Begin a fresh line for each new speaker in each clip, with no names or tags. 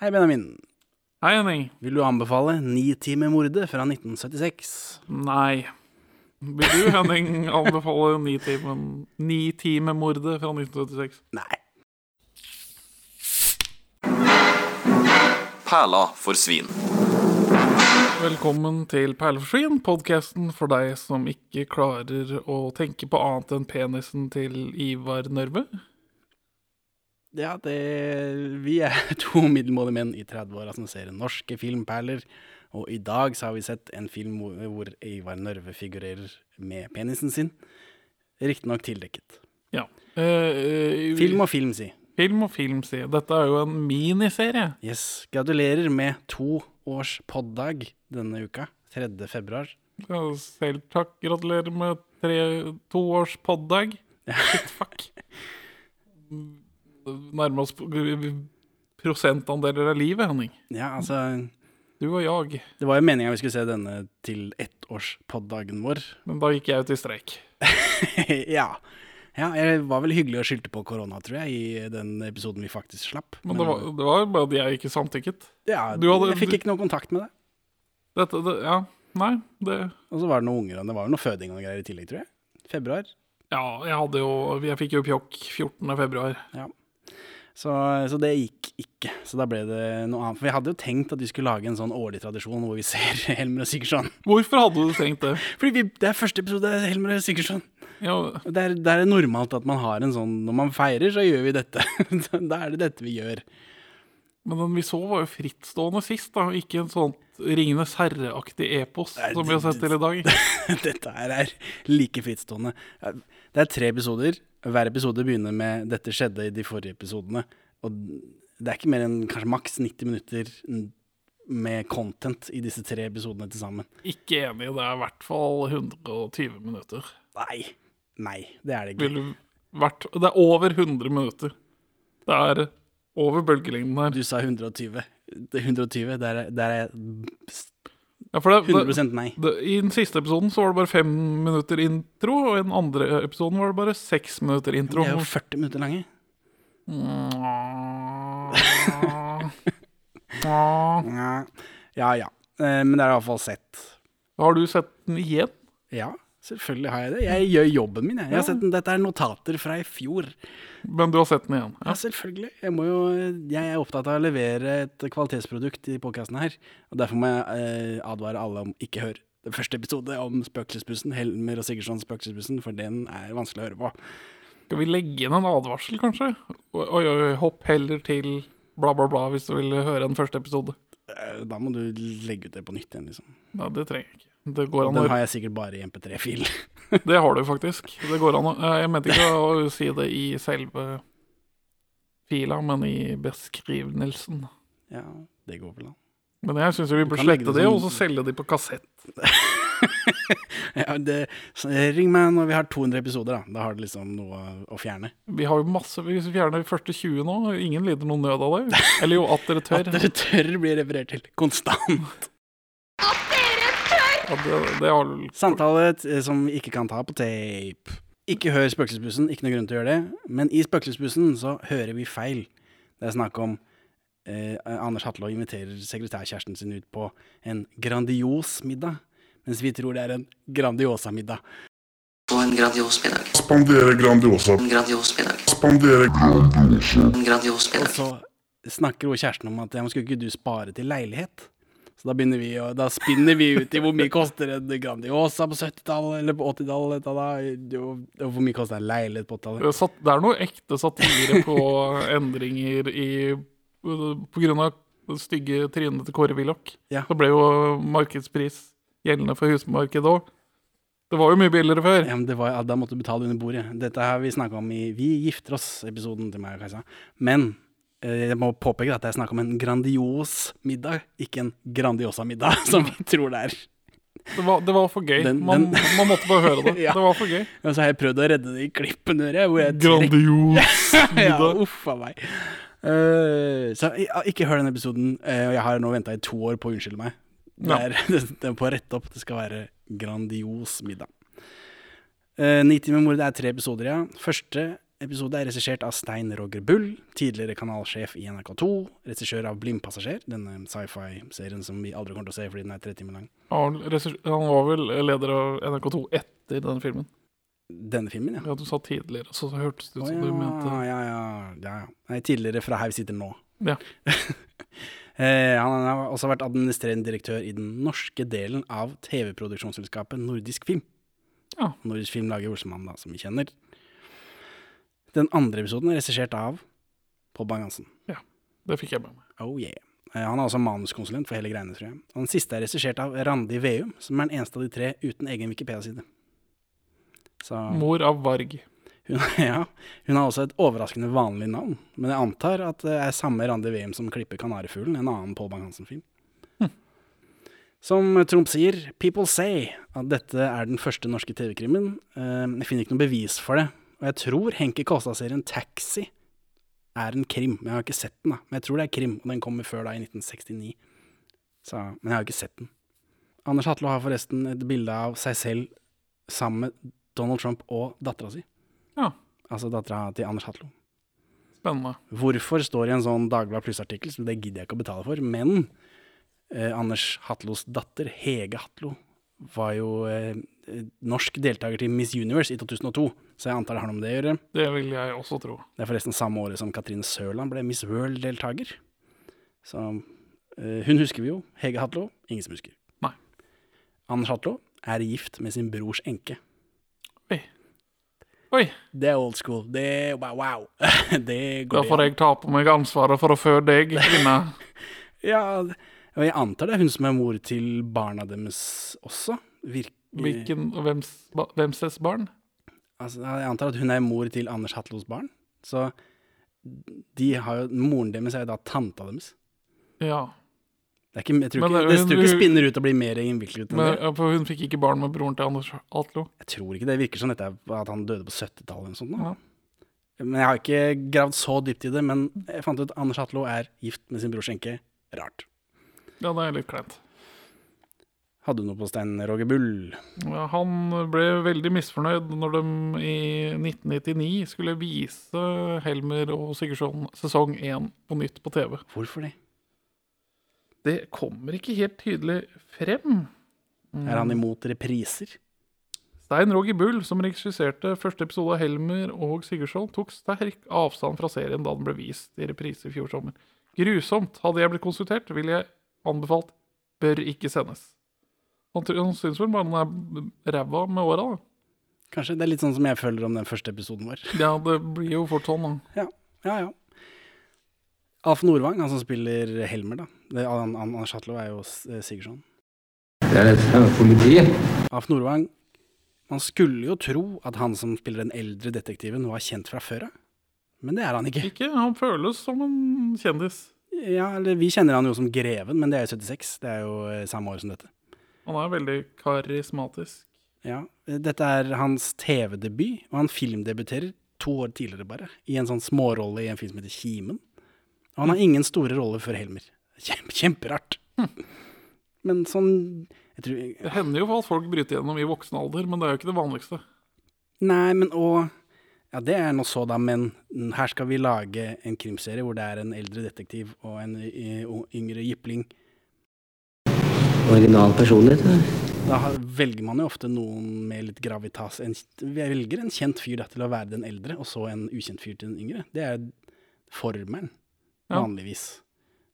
Hei, Benjamin.
Hei, Henning.
Vil du anbefale 'Nitimermordet' fra 1976?
Nei. Vil du, Henning, anbefale Nitimen- Nitimemordet fra 1976?
Nei.
Perla for svin.
Velkommen til Perleforsvin, podkasten for deg som ikke klarer å tenke på annet enn penisen til Ivar Nørve.
Ja, det Vi er to middelmådige menn i 30-åra som ser norske filmperler. Og i dag så har vi sett en film hvor- hvor Ivar Nørve figurerer med penisen sin. Riktignok tildekket.
Ja. Eh, eh,
Film og film, si.
film og film, si. Dette er jo en miniserie.
Yes. Gratulerer med to års poddag denne uka. 3. februar.
Ja, Selv takk. Gratulerer med tre, to års poddag. Shit, fuck. Nærmer oss på- prosentandeler av livet, Henning.
Ja, altså
Du og jeg.
Det var jo meninga vi skulle se denne til ettårspoddagen vår.
Men da gikk jeg ut i streik.
ja. ja. Jeg var vel hyggelig og skyldte på korona, tror jeg, i den episoden vi faktisk slapp.
Men det var, det var jo bare at jeg ikke samtykket.
Ja,
Du hadde-
jeg fikk ikke noe kontakt med det.
Dette, det, ja, nei, det
Og så var det noen unger, og det var jo noe føding og noe greier i tillegg, tror jeg. Februar.
Ja, jeg hadde jo Jeg fikk jo pjokk 14. februar.
Så, så det gikk ikke. Så da ble det noe annet. For vi hadde jo tenkt at vi skulle lage en sånn årlig tradisjon hvor vi ser Helmer og Sigurdsson.
Hvorfor hadde du tenkt det?
Fordi vi, det er første episode av Helmer og Sigurdsson.
Ja,
Og det er, det er normalt at man har en sånn Når man feirer, så gjør vi dette. da er det dette vi gjør.
men den vi så, var jo frittstående sist, da. og Ikke en sånt Ringenes herre-aktig epos
Nei,
som vi har sett til i dag.
Dette her er like frittstående. Det er tre episoder. Hver episode begynner med 'dette skjedde i de forrige episodene'. Og det er ikke mer enn kanskje maks 90 minutter n- med content i disse tre episodene til sammen.
Ikke enig. Det er i hvert fall 120 minutter.
Nei. Nei, det er det ikke.
Vil du vært Det er over 100 minutter. Det er over bølgelengden her.
Du sa 120. Det er 120, der er, der er
Ja, for det, det,
100 nei.
det, I den siste episoden så var det bare fem minutter intro, og i den andre episoden var det bare seks minutter
De
intro.
er jo 40 minutter lange. Ja ja. ja. Eh, Men det er iallfall sett.
Har du sett den igjen?
Ja, selvfølgelig har jeg det. Jeg gjør jobben min, jeg. jeg har sett, den- dette er notater fra i fjor.
Men du har sett den igjen?
Ja,
Ja.
selvfølgelig. Jeg, må jo, jeg er opptatt av å levere et kvalitetsprodukt i podkasten her. Og derfor må jeg eh, advare alle om ikke hør den første episode om Spøkelsesbussen, Helmer og Sigurdssons Spøkelsesbussen, for den er vanskelig å høre på.
Skal vi legge inn en advarsel, kanskje? Oi, oi, oi, hopp heller til bla, bla, bla hvis du vil høre en første episode.
Eh, Da må du legge ut det på nytt igjen, liksom.
Nei, det trenger jeg ikke. Det går an
Den
å
har jeg sikkert bare i MP3-fil.
Det har du faktisk. Det går an å eh, Jeg mente ikke å si det i selve fila, men i beskrivelsen.
Ja, det går vel an.
Men jeg syns vi bør
kan legge
slette
det
det,
som-
og så selge de på kassett.
Ja, det, så, eh, ring meg når vi har 200 episoder, da. Da har du liksom noe å fjerne.
Vi har jo masse Hvis vi fjerner de første 20 nå, ingen lider noen nød av det. Eller jo, at dere tør.
At dere tør bli referert til konstant.
Ja, det, det har du
Samtale t- eh, som vi ikke kan ta på tape. Ikke hør Spøkelsesbussen, ikke noe grunn til å gjøre det. Men i Spøkelsesbussen så hører vi feil. Det er snakk om eh, Anders Hatlo inviterer sekretærkjæresten sin ut på en grandios middag. Mens vi tror det er en Grandiosa-middag.
På en grandios middag.
Spandere Grandiosa.
En grandios middag.
Spandere Grandiosa.
En grandios
Og
middag.
så snakker hun kjæresten om at ja, men skulle ikke du spare til leilighet? Så da begynner vi å, da spinner vi ut i hvor mye koster en Grandiosa på 70-tallet, eller på 80-tallet, da, da, og, og hvor mye koster en leilighet på 80-tallet.
Eh, Sat, det er noe ekte satire på endringer i eh, På grunn av det stygge trynet til Kåre Willoch.
Ja.
Så ble jo markedspris gjeldende for husmarkedet òg. Det var jo mye billigere før.
Ja, men det var, ja, da måtte du betale under bordet. Dette har vi snakka om i Vi gifter oss-episoden til meg og Kajsa. Men eh, jeg må påpeke at det er snakk om en grandios middag, ikke en Grandiosa-middag, som vi tror det er.
Det var, det var for gøy.
Den-
man,
den-
man måtte bare høre det.
Ja.
Det var for gøy.
Og så har jeg prøvd å redde det i klippen, hører jeg, hvor jeg trekker
Grandios
ja,
middag.
uff a meg. Eh, så ja, ikke hør den episoden. eh, og jeg har nå venta i to år på å unnskylde meg. Det
Ja.
er, det, det er på å rette opp. Det skal være Eh, grandios middag. Uh, Ni timer mord det er tre episoder, ja. Første episode er regissert av Stein Roger Bull, tidligere kanalsjef i NRK2, regissør av Blindpassasjer, denne sci-fi-serien som vi aldri kommer til å se fordi den er tre timer lang.
Arnold, regissør- han var vel leder av NRK2 etter den filmen.
Denne filmen, ja.
Ja, du sa tidligere, så hørtes det ut
Å
som
ja,
du mente
ja, ja, ja, ja. Nei, tidligere fra her vi sitter nå.
Ja.
Eh, Han har også vært administrerende direktør i den norske delen av TV-produksjonsselskapet Nordisk Film.
Ja.
Nordisk Film lager Olsemann, da, som vi kjenner. Den andre episoden er regissert av Pål Bang-Hansen.
Det fikk jeg med meg.
Oh yeah. Eh, Han er også manuskonsulent for hele greiene, tror jeg. Og den siste er regissert av Randi Veum, som er den eneste av de tre uten egen Wikipedia-side. Så
Mor av Varg.
hun, ja, hun har også et overraskende vanlig navn, men jeg antar at det er samme Randi Veum som klipper Kanarifuglen, en annen Pål Bang-Hansen-film. Som Tromp sier, people say at dette er den første norske TV-krimmen. Eh, Jeg finner ikke noe bevis for det, og jeg tror Henki Kåstad-serien Taxi er en krim, men jeg har ikke sett den, da. Men jeg tror det er krim, og den kommer før da, i 1969. Så, men jeg har ikke sett den. Anders Hatlo har forresten et bilde av seg selv sammen med Donald Trump og dattera si.
Ja.
Altså dattera til Anders Hatlo.
Spennende.
Hvorfor står det i en sånn Dagbladet Pluss-artikkel, så det gidder jeg ikke å betale for, men eh, Anders Hatlos datter, Hege Hatlo, var jo eh, eh, norsk deltaker til Miss Universe i 2002, så jeg antar det har noe med det å gjøre.
Det vil jeg også tro.
Det er forresten samme året som Katrine Sørland ble Miss World-deltaker. Så eh, hun husker vi jo. Hege Hatlo, ingen som husker.
Nei.
Anders Hatlo er gift med sin brors enke.
Oi,
Det er old school. Det er bare wow. det
da
går
får
det.
jeg ta på meg ansvaret for å føde deg, kvinne.
Ja, og jeg antar det er hun som er mor til barna deres også. Virker
Hvilken, hvems, ba- hvemses barn?
Altså, jeg antar at hun er mor til Anders Hatlos barn. Så de har jo, moren deres er jo da tanta deres.
Ja,
Det, er ikke, jeg tror
Men
ikke,
det-
det, jeg tror ikke
hun-
spinner ut og blir mer innviklet enn det.
men, ja, for hun fikk ikke barn med broren til Anders Atlo.
Jeg tror ikke det virker som dette er at han døde på 70-tallet eller noe sånt. nå.
Ja.
Men jeg har ikke gravd så dypt i det, men jeg fant ut at Anders Hatlo er gift med sin brors enke. Rart.
Ja, det er litt kleint.
Hadde du noe på Stein Roger Bull?
Ja, Han ble veldig misfornøyd når de i 1999 skulle vise Helmer og Sigurdsson sesong 1 på nytt på TV.
Hvorfor det?
Det kommer ikke helt tydelig frem.
Er han imot repriser?
Stein Roger Bull, som regisserte første episode av Helmer og Sigurdsson, tok sterk avstand fra serien da den ble vist i reprise i fjor sommer. Grusomt. Hadde jeg blitt konsultert, ville jeg anbefalt bør ikke sendes. Han, tr- han syns vel bare den er ræva med åra, da.
Kanskje det er litt sånn som jeg føler om den første episoden vår.
Ja, det blir jo fort sånn, da.
Ja, ja, ja. Alf Nordvang, han som spiller Helmer, da. Det, han, han, Anders Hatlo er jo S- Sigurdsson.
Jeg er redd for politiet.
Alf Nordvang Man skulle jo tro at han som spiller den eldre detektiven, var kjent fra før av. Men det er han ikke.
Ikke? Han føles som en kjendis.
Ja, eller Vi kjenner han jo som Greven, men det er jo 76. Det er jo eh, samme år som dette.
Han er veldig karismatisk.
Ja, eh, Dette er hans TV-debut, og han filmdebuterer to år tidligere, bare. I en sånn smårolle i en film som heter Kimen. Og han har ingen store roller før Helmer. Kjempe, kjemperart. Men sånn jeg tror,
Det hender jo at folk bryter gjennom i voksen alder, men det er jo ikke det vanligste.
Nei, men og Ja, det er nå så, da, men her skal vi lage en krimserie hvor det er en eldre detektiv og en eh, o- yngre jypling.
Original personlighet. da.
Da har- velger man jo ofte noen med litt gravitas. En, jeg velger en kjent fyr da, til å være den eldre, og så en ukjent fyr til den yngre. Det er formelen,
Ja.
vanligvis.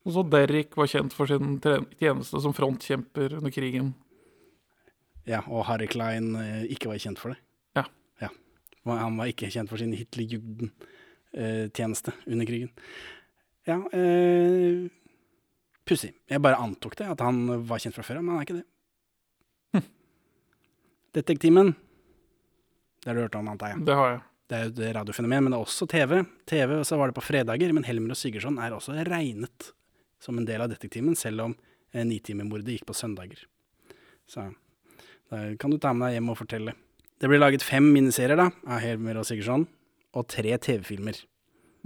Og så Derrick var kjent for sin tre- tjeneste som frontkjemper under krigen.
Ja, og Harry Klein eh, ikke var kjent for det.
Ja.
Og Han var ikke kjent for sin Hitlerjugden-tjeneste under krigen. Ja, eh, pussig. Jeg bare antok det, at han var kjent fra før, men han er ikke det. Detektimen. Det har du hørt om, antar jeg.
Det har jeg.
Det er jo et radiofenomen, men det er også TV. TV, og så var det på fredager, men Helmer og Sigurdsson er også regnet som en del av Detektimen, selv om eh, Nitimermordet gikk på søndager. Så da kan du ta med deg hjem og fortelle. Det ble laget fem miniserier da, av Helmer og Sigurdsson, og tre TV-filmer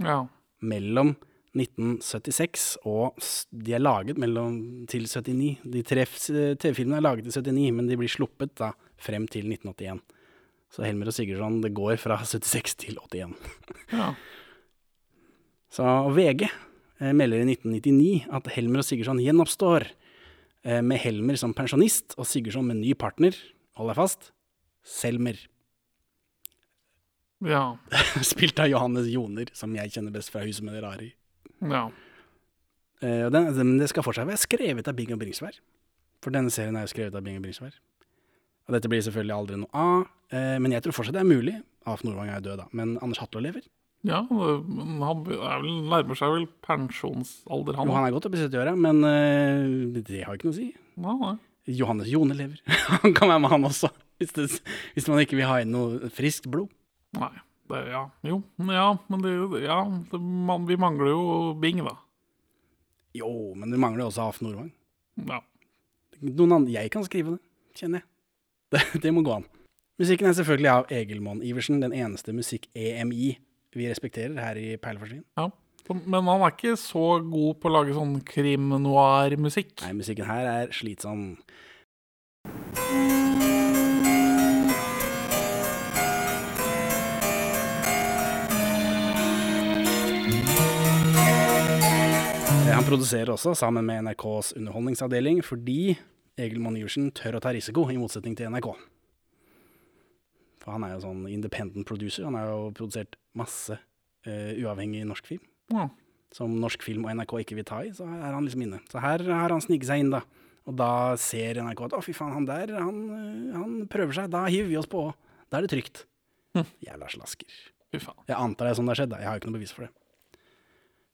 Ja.
mellom 1976 og s- De er laget mellom til 79. De tre f- s- TV-filmene er laget i 79, men de blir sluppet da frem til 1981. Så Helmer og Sigurdsson, det går fra 76 til 81.
Ja.
Så VG eh, melder i 1999 at Helmer og Sigurdsson gjenoppstår, eh, med Helmer som pensjonist og Sigurdsson med ny partner, hold deg fast, Selmer.
ja.
Spilt av Johannes Joner, som jeg kjenner best fra Huset med det rare. i.
ja.
Eh, og den, den, det skal fortsatt være skrevet av Bing og Bringsvær. For denne serien er jo skrevet av Bing og Bringsvær. Og dette blir selvfølgelig aldri noe av, eh, men jeg tror fortsatt det er mulig. Alf Nordvang er jo død, da, men Anders Hatlo lever.
Ja, men han er vel, nærmer seg vel pensjonsalder,
Jo,
han.
han er godt oppe i 70-åra, men eh, det har jo ikke noe å si.
Ja, nei.
Johannes Jone lever. Han kan være med, han også. Hvis, det, hvis man ikke vil ha inn noe friskt blod.
nei. Det, ja. Jo, ja, men det, ja, det, man, vi mangler jo Bing, da.
Jo, men det mangler jo også Alf Nordvang.
Ja.
Noen andre, jeg kan skrive det, kjenner jeg. Det, det må gå an. Musikken er selvfølgelig av Egil Monn Iversen, den eneste musikk-EMI vi respekterer her i Perleforsvin.
ja. Så, men han er ikke så god på å lage sånn krim-noir-musikk.
Nei, musikken her er slitsom. Eh, Han produserer også, sammen med NRKs underholdningsavdeling, fordi Egil Monn-Iversen tør å ta risiko, i motsetning til NRK. For han er jo sånn independent producer. Han har jo produsert masse eh, uavhengig norsk film
Ja.
som norsk film og NRK ikke vil ta i, så er han liksom inne. Så her har han sniket seg inn, da. Og da ser NRK at å, fy faen, han der, han, øh, han prøver seg. Da hiver vi oss på. Da er det trygt.
Hm.
Jævla slasker.
Fy faen.
Jeg antar det er sånn det har skjedd, da. Jeg har jo ikke noe bevis for det.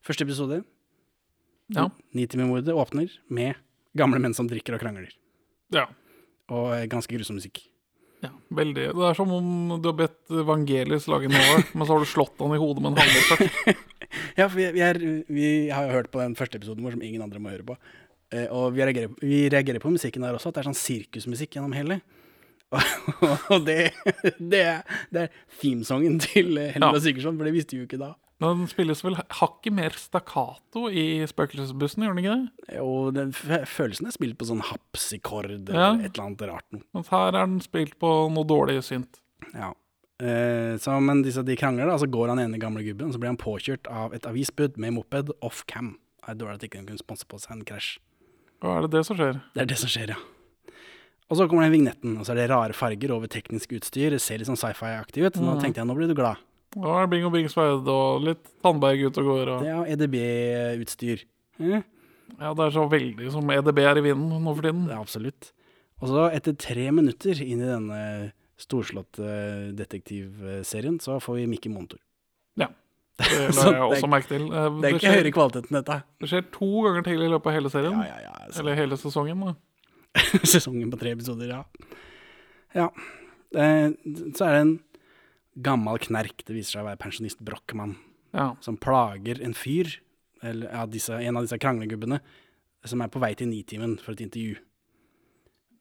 Første episode,
Ja.
Nitimimordet, åpner med gamle menn som drikker og krangler.
ja.
Og eh, ganske grusom musikk.
Ja, veldig. Det er som om du har bedt Vangelis lage nål, men så har du slått han i hodet med en halvmålstøkk.
Ja, for vi, vi, er, vi har jo hørt på den første episoden vår som ingen andre må høre på. Eh, og vi reagerer, vi reagerer på musikken der også, at det er sånn sirkusmusikk gjennom hele. Og, og det, det, er, det er themesongen til eh, Helmer
Ja.
og Sigurdsson, for det visste vi jo ikke da.
Men den spilles vel hakket mer stakkato i Spøkelsesbussen, gjør den ikke det?
Og den f- følelsen er spilt på sånn hapsikord eller
Ja.
et eller annet rart noe.
Mens her er den spilt på noe dårlig synt.
Ja. Eh, så, men disse, de krangler, da, så går han ene gamle gubben, så blir han påkjørt av et avisbud med moped off cam. Det er dårlig at ikke han kunne sponse på seg en krasj.
Og er det det som skjer?
Det er det som skjer, ja. Og så kommer den vignetten, og så er det rare farger over teknisk utstyr. Det ser litt sånn sci-fi-aktig ut. så Nå tenkte jeg, nå blir du glad.
Da er det Bing og Bings Veid og litt Tandberg ute og går. Og,
Det er jo E EDB-utstyr. Mm,
ja, det er så veldig som EDB er i vinden nå for tiden.
det er absolutt. Og så, etter tre minutter inn i denne storslåtte detektivserien, så får vi Mickey Montour.
Ja. Det
Så
la
det er-
jeg også merke til. Eh,
Det er ikke
skjer,
høyere kvalitet enn dette.
det skjer to ganger til i løpet av hele serien.
Ja, ja, ja. så-
Eller hele sesongen. Da.
Sesongen på tre episoder, ja. Ja. Eh, Så er det en gammel knerk, det viser seg å være pensjonist Brochmann.
Ja.
som plager en fyr, eller ja, disse, en av disse kranglegubbene, som er på vei til Nitimen for et intervju.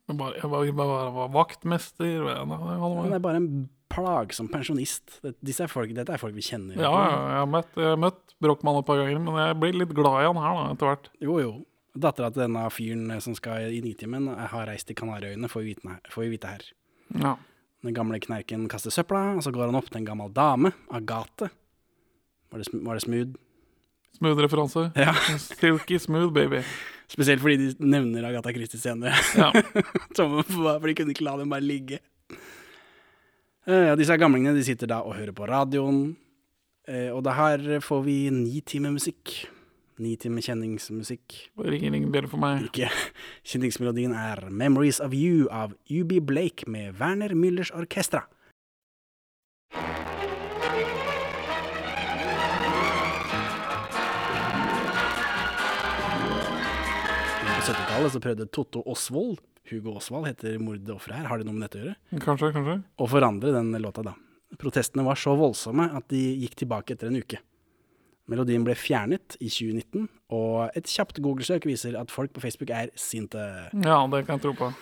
Men Bare, jeg var, jeg var, var vaktmester og- nei, han var-
Han er bare en plagsom pensjonist. Det- Disse er folk, dette er folk vi kjenner.
Ja, ja, jeg har møtt, jeg har møtt Brochmann et par ganger, men jeg blir litt glad i han her da, etter hvert.
Jo, jo. Dattera til denne fyren som skal i Nitimen, er- har reist til Kanariøyene, får vi vite, får vi vite her.
Ja.
Den gamle knerken kaster søpla, og så går han opp til en gammel dame, Agathe. Var det, sm- var det smooth?
Smooth referanse.
Ja.
Silky smooth, baby.
Spesielt fordi de nevner Agatha Christie senere.
Ja.
Som, for de kunne ikke la dem bare ligge. Eh, og disse gamlingene de sitter da og hører på radioen. Eh, og det her får vi ni timer musikk. Ni timer kjenningsmusikk.
Ring, ring, bjelle for meg.
Ikke. Kjenningsmelodien er 'Memories of You' av UB Blake med Werner Müllers Orkestra. På 70-tallet så prøvde Totto Osvold Hugo Osvald heter mordofferet her, har det noe med dette å gjøre?
Kanskje, kanskje.
Å forandre den låta, da. Protestene var så voldsomme at de gikk tilbake etter en uke. Melodien ble fjernet i 2019, og et kjapt Google-søk viser at folk på Facebook er sinte.
Ja, det kan jeg tro på.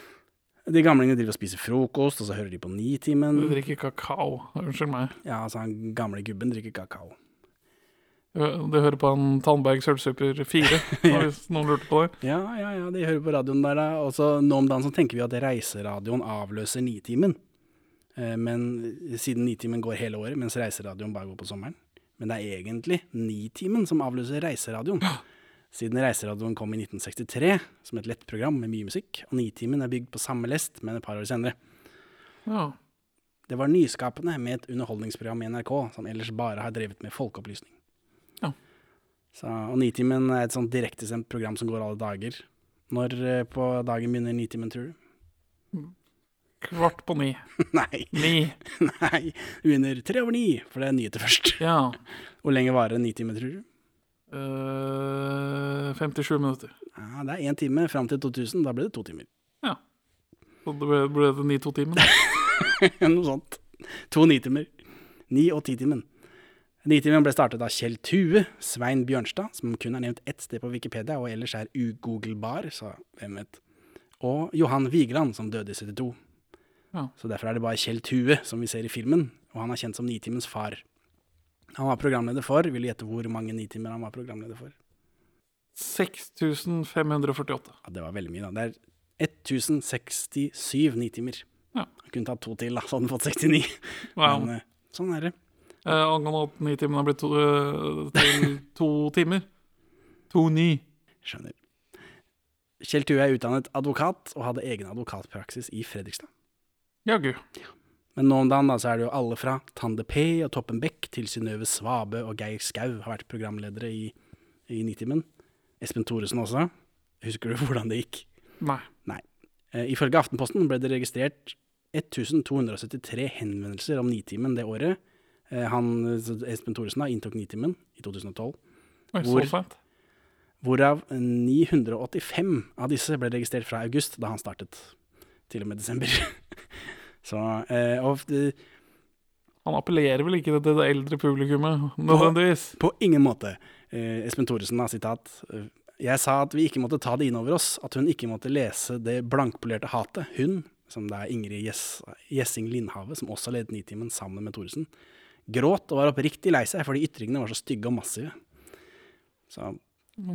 De gamlingene driver og spiser frokost, og så hører de på
Du
Nitimen.
drikker kakao. Unnskyld meg.
Ja, altså han gamle gubben drikker kakao.
Du Eh, du hører på en Tandberg Sølvsuper 4, nå, hvis noen lurte på det.
Ja, ja, ja, de hører på radioen der, da. Og så nå om dagen så tenker vi at reiseradioen avløser Nitimen. Eh, Men siden Nitimen går hele året, mens reiseradioen bare går på sommeren. Men det er egentlig Nitimen som avløser reiseradioen. Siden reiseradioen kom i 1963 som et lett program med mye musikk, og Nitimen er bygd på samme lest, men et par år senere.
Ja.
Det var nyskapende med et underholdningsprogram i NRK som ellers bare har drevet med folkeopplysning.
Ja.
Så, og Nitimen er et sånn direktesendt program som går alle dager. Når eh, på dagen begynner Nitimen, tror du?
Kvart på ni.
nei,
Ni.
nei, det begynner tre over ni, for det er nyheter først.
Ja.
Hvor lenge varer Nitimen, tror du?
Eh, 57 minutter.
Ja, det er én time fram til 2000, da blir det to timer.
Ja. Så det ble, ble det ni-to-timen.
Noe sånt. To nitimer. Ni- og titimen. Nitimen ble startet av Kjell Tue, Svein Bjørnstad, som kun er nevnt ett sted på Wikipedia og ellers er ugooglebar, så hvem vet. Og Johan Vigeland, som døde i 72.
Ja.
Så derfor er det bare Kjell Tue som vi ser i filmen, og han er kjent som Nitimens far. Han var programleder for Vil du gjette hvor mange nitimer han var programleder for?
6548.
Ja, det var veldig mye, da. Det er 1067 nitimer.
Ja.
Han kunne tatt to til, da, så hadde han fått 69.
Wow.
Men eh, sånn er det.
Eh, angående at ni-timen har blitt to, eh, til to timer. To ni.
Skjønner. Kjell Tue er utdannet advokat og hadde egen advokatpraksis i Fredrikstad.
Jaggu.
Men nå om dagen da, så er det jo alle fra Tande P og Toppen Beck til Synnøve Svabe og Geir Skau har vært programledere i, i Nitimen. Espen Thoresen også. Husker du hvordan det gikk?
Nei.
Eh, ifølge Aftenposten ble det registrert 1273 henvendelser om Nitimen det året. Eh, han, så Espen Thoresen da, inntok Nitimen i 2012.
Oi,
Hvor?
så sent.
Hvorav 985 av disse ble registrert fra august, da han startet. Til og med desember. Så, eh, og eh,
Han appellerer vel ikke til det eldre publikummet, nødvendigvis.
på ingen måte. Eh, Espen Thoresen har sitat eh, Jeg sa at vi ikke måtte ta det inn over oss, at hun ikke måtte lese det blankpolerte hatet. Hun, som det er Ingrid Gjess- Gjessing Lindhave, som også ledet Nitimen sammen med Thoresen, gråt og var oppriktig lei seg fordi ytringene var så stygge og massive. Så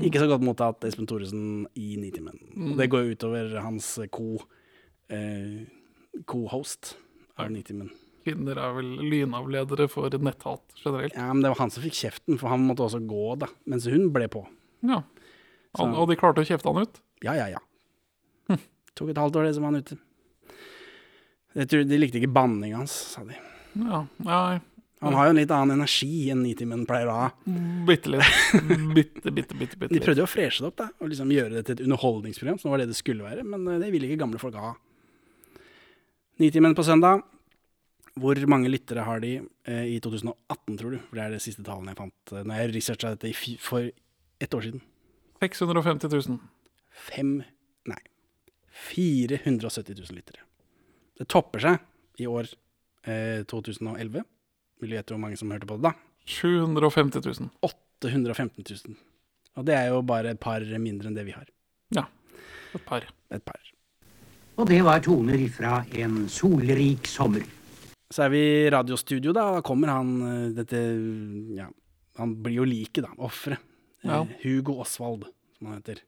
ikke så godt mottatt Espen Thoresen i Nitimen. Og det går jo utover hans co- eh, co-host av Nitimen.
Kvinner er vel lynavledere for netthat generelt.
Ja, men det var han som fikk kjeften, for han måtte også gå, da, mens hun ble på.
Ja. Han,
Så-
og de klarte å kjefte han ut.
Ja, ja, ja. Tok et halvt år, det, som var han ute. Jeg tror De likte ikke banninga hans, sa de.
Ja, nei.
Han har jo en litt annen energi enn Nitimen pleier å ha.
Bitte litt. Bitte, bitte, bitte. bitte
De
litt.
prøvde jo å freshe det opp da, og liksom gjøre det til et underholdningsprogram, som var det det skulle være, men eh, det ville ikke gamle folk ha. Nitimen på søndag. Hvor mange lyttere har de eh, i 2018, tror du? For det er det siste tallene jeg fant eh, når jeg researcha dette i fi- for ett år siden.
650 000.
Fem Nei. 470 000 lyttere. Det topper seg i år eh, 2011. Vil du gjette hvor mange som hørte på det da?
750 000.
815 000. Og det er jo bare et par mindre enn det vi har.
Ja. Et par.
Et par.
Og det var toner ifra en solrik sommer.
Så er vi i radiostudio, da. og Da kommer han eh, dette Ja, han blir jo liket, da. Offeret. Eh,
Ja.
Hugo Osvald, som han heter.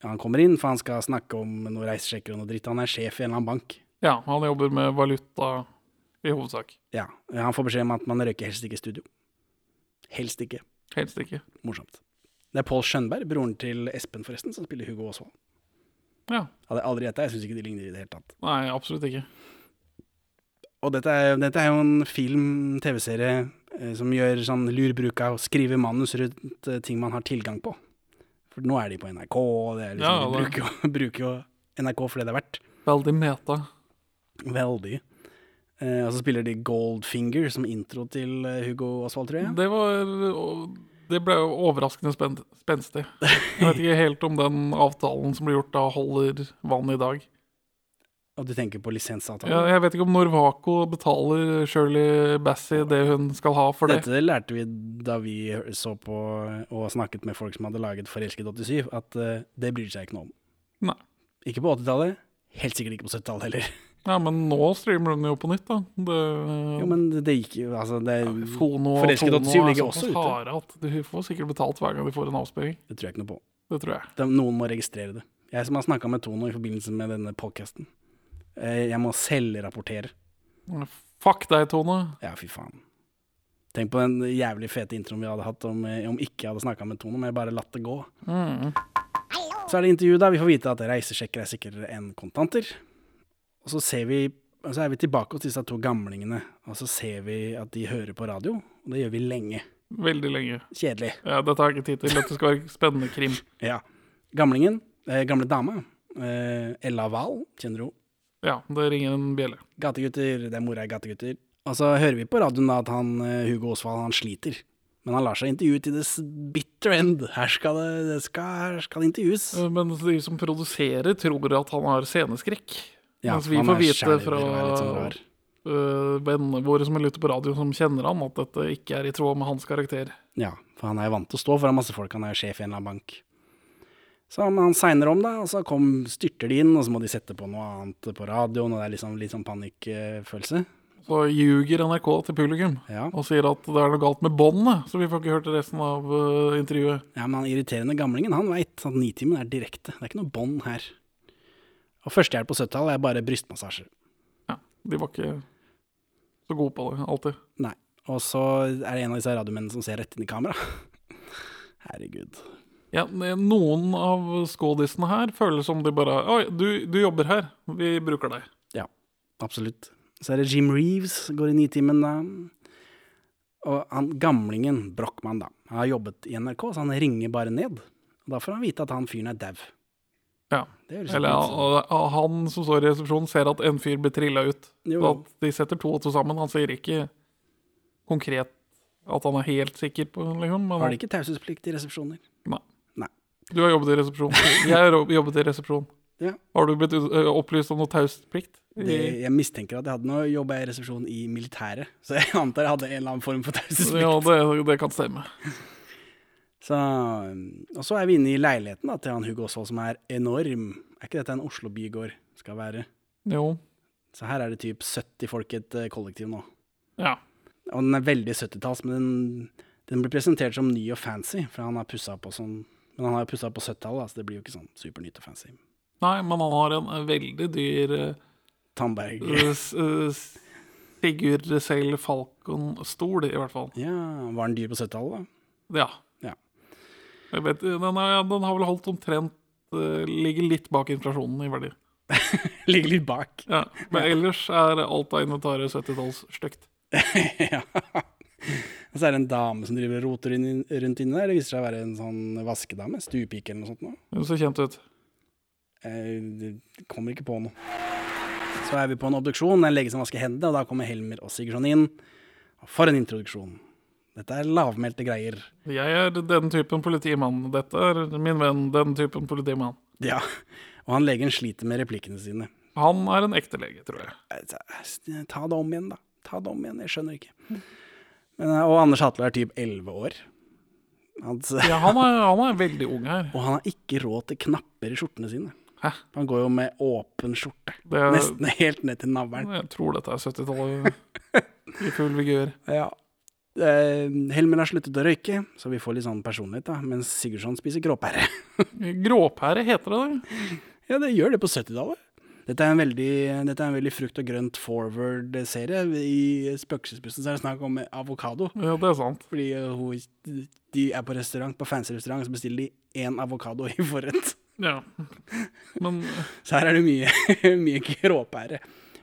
Ja, han kommer inn, for han skal snakke om noen reisesjekker og noe dritt. Han er sjef i en eller annen bank.
Ja, han jobber med valuta i hovedsak.
Ja, eh, Han får beskjed om at man røyker helst ikke i studio. Helst ikke.
Helst ikke.
Morsomt. Det er Pål Skjønberg, broren til Espen, forresten, som spiller Hugo Osvald.
Ja.
Hadde jeg aldri gjetta. Jeg syns ikke de ligner i det hele tatt.
Nei, absolutt ikke.
Og dette er, dette er jo en film, TV-serie, eh, som gjør sånn lurbruk av å skrive manus rundt eh, ting man har tilgang på. For nå er de på NRK, og det er liksom, de
Ja, det-
bruker jo, bruker jo NRK for det det er verdt.
Veldig meta.
Veldig. Eh, og så spiller de Goldfinger som intro til eh, Hugo Osvald, tror jeg.
Det var og Det ble jo overraskende spen spenstig. Jeg vet ikke helt om den avtalen som ble gjort da, holder vann i dag.
Og du tenker på lisensavtalen.
Jeg, jeg vet ikke om Norvaco betaler Shirley Bassey det hun skal ha for det.
Dette lærte vi da vi så på og snakket med folk som hadde laget Forelsket 87, at eh, det bryr seg ikke noe om.
Nei.
Ikke på 80-tallet, helt sikkert ikke på 70-tallet heller.
Ja, men nå streamer den jo på nytt, da. Det,
Jo, men det det gikk jo altså det,
Fono
Forelsket
Fono
87
er
ligger
såpass
også ute.
harde at de får sikkert betalt hver gang de får en avspilling.
det tror jeg ikke noe på.
Det tror jeg.
De, noen må registrere det. Jeg som har snakka med Tono i forbindelse med denne podkasten. Jeg må eh, selvrapportere
Fuck deg, Tone.
Ja, fy faen. Tenk på den jævlig fete introen vi hadde hatt om, eh, om ikke jeg hadde snakka med Tone, men jeg bare latt det gå. Mm. Så er det intervju, da. Vi får vite at reisesjekker er sikrere enn kontanter. Og så, ser vi, og så er vi tilbake hos disse to gamlingene, og så ser vi at de hører på radio. Og det gjør vi lenge.
Veldig lenge.
Kjedelig.
Ja, dette har jeg ikke tid til. Dette skal være spennende krim.
Ja. Gamlingen, eh, gamle dama, eh, Ella Wahl, kjenner du henne?
Ja, det ringer en bjelle.
Gategutter, det er mora i Gategutter. Og så hører vi på radioen da at han, eh, Hugo Osvald han sliter. Men han lar seg intervjue til this bitter end. Her skal det, det skal, her skal det intervjues.
Eh, Men de som produserer, tror at han har sceneskrekk.
Ja,
mens Altså, vi
han
får
er
vite
skjelver
fra
og er litt sånn rar.
eh, vennene våre som lytter på radio, som kjenner han, at dette ikke er i tråd med hans karakter.
Ja, for han er jo vant til å stå foran masse folk, han er jo sjef i en eller annen bank. Så han, han segner om, da, og så kom, styrter de inn, og så må de sette på noe annet på radioen, og det er liksom litt sånn panikkfølelse.
Så ljuger NRK til publikum
Ja.
og sier at det er noe galt med båndet, så vi får ikke hørt resten av eh, intervjuet.
Ja, men han irriterende gamlingen, han veit at nitimen er direkte. Det er ikke noe bånd her. Og førstehjelp på 70-tallet er bare brystmassasje.
Ja, de var ikke så gode på det, alltid.
Nei. Og så er det en av disse radiomennene som ser rett inn i kamera. Herregud.
Ja, noen av skådisene her føles som de bare Oi, du, du jobber her. Vi bruker deg.
Ja, absolutt. Så er det Jim Reeves, går i nitimen da. Og han gamlingen, Brochmann, da, han har jobbet i NRK, så han ringer bare ned. Og da får han vite at han fyren er dau.
Ja.
Det høres
Eller
ikke ut som-
ja, ja, han som står i resepsjonen, ser at en fyr blir trilla ut.
Jo.
Så at de setter to og to sammen. Han sier ikke konkret at han er helt sikker på liksom, men
Har de ikke taushetsplikt i resepsjoner?
Nei.
Nei.
Du har jobbet i resepsjon. Jeg har jo- jobbet i resepsjon.
Ja.
Har du blitt ø, opplyst om noe tausplikt?
Det, jeg mistenker at jeg hadde noe jobb i resepsjon i militæret, så jeg antar jeg hadde en eller annen form for taushetsplikt.
Ja, det, det kan stemme.
Så, um, og så er vi inne i leiligheten da, til han Hugo Osvald, som er enorm. Er ikke dette en Oslo bygård skal være?
Jo.
Så her er det typ 70 folk i et eh, kollektiv nå.
Ja.
Og den er veldig 70-talls, men den, den blir presentert som ny og fancy, for han har pussa på sånn Men han har pussa på 70-tallet, da, så det blir jo ikke sånn supernytt og fancy.
Nei, men han har en ø, veldig dyr eh, ø,
Tandberg.
ø, s- ø, s- Sigurd Seil Falcon-stol, i hvert fall.
Ja, var den dyr på 70-tallet, da?
Ja.
Ja.
Jeg vet, den, er, den har vel holdt omtrent eh, Ligger litt bak inflasjonen i verdi.
Ligger litt bak.
Ja. Men ellers er alt av inventaret 70-talls stygt.
ja. Og så er det en dame som driver og roter inn- rundt inni der. Det viser seg å være en sånn vaskedame. Stuepike eller noe sånt. Nå.
Hun ser kjent ut.
Jeg kommer ikke på noe. Så er vi på en obduksjon, det er en lege som vasker hendene, og da kommer Helmer og Sigurdsson inn. Og for en introduksjon. Dette er lavmælte greier.
Jeg er den typen politimann. Dette er min venn, den typen politimann.
Ja, og han legen sliter med replikkene sine.
Han er en ekte lege, tror jeg.
Altså, Ta det om igjen, da. Ta det om igjen, jeg skjønner ikke. Men, eh, og Anders Hatlo er typ 11 år. Altså,
Ja, han er, han er veldig ung her.
og han har ikke råd til knapper i skjortene sine.
Hæ?
Han går jo med åpen skjorte.
Det er,
Nesten helt ned til navlen.
jeg tror dette er 70-tallet i full vigør.
Ja. Eh, Helmer har sluttet å røyke, så vi får litt sånn personlighet, da. Mens Sigurdsson spiser gråpære.
Gråpære heter det det?
ja, det gjør det på 70-tallet. Dette er en veldig, dette er en veldig frukt og grønt forward-serie. I Spøkelsesbussen så er det snakk om avokado.
Ja, det er sant.
Fordi eh, hun, de er på restaurant, på fancy restaurant, så bestiller de én avokado i forrett.
Ja. Men
Så her er det mye, mye gråpære.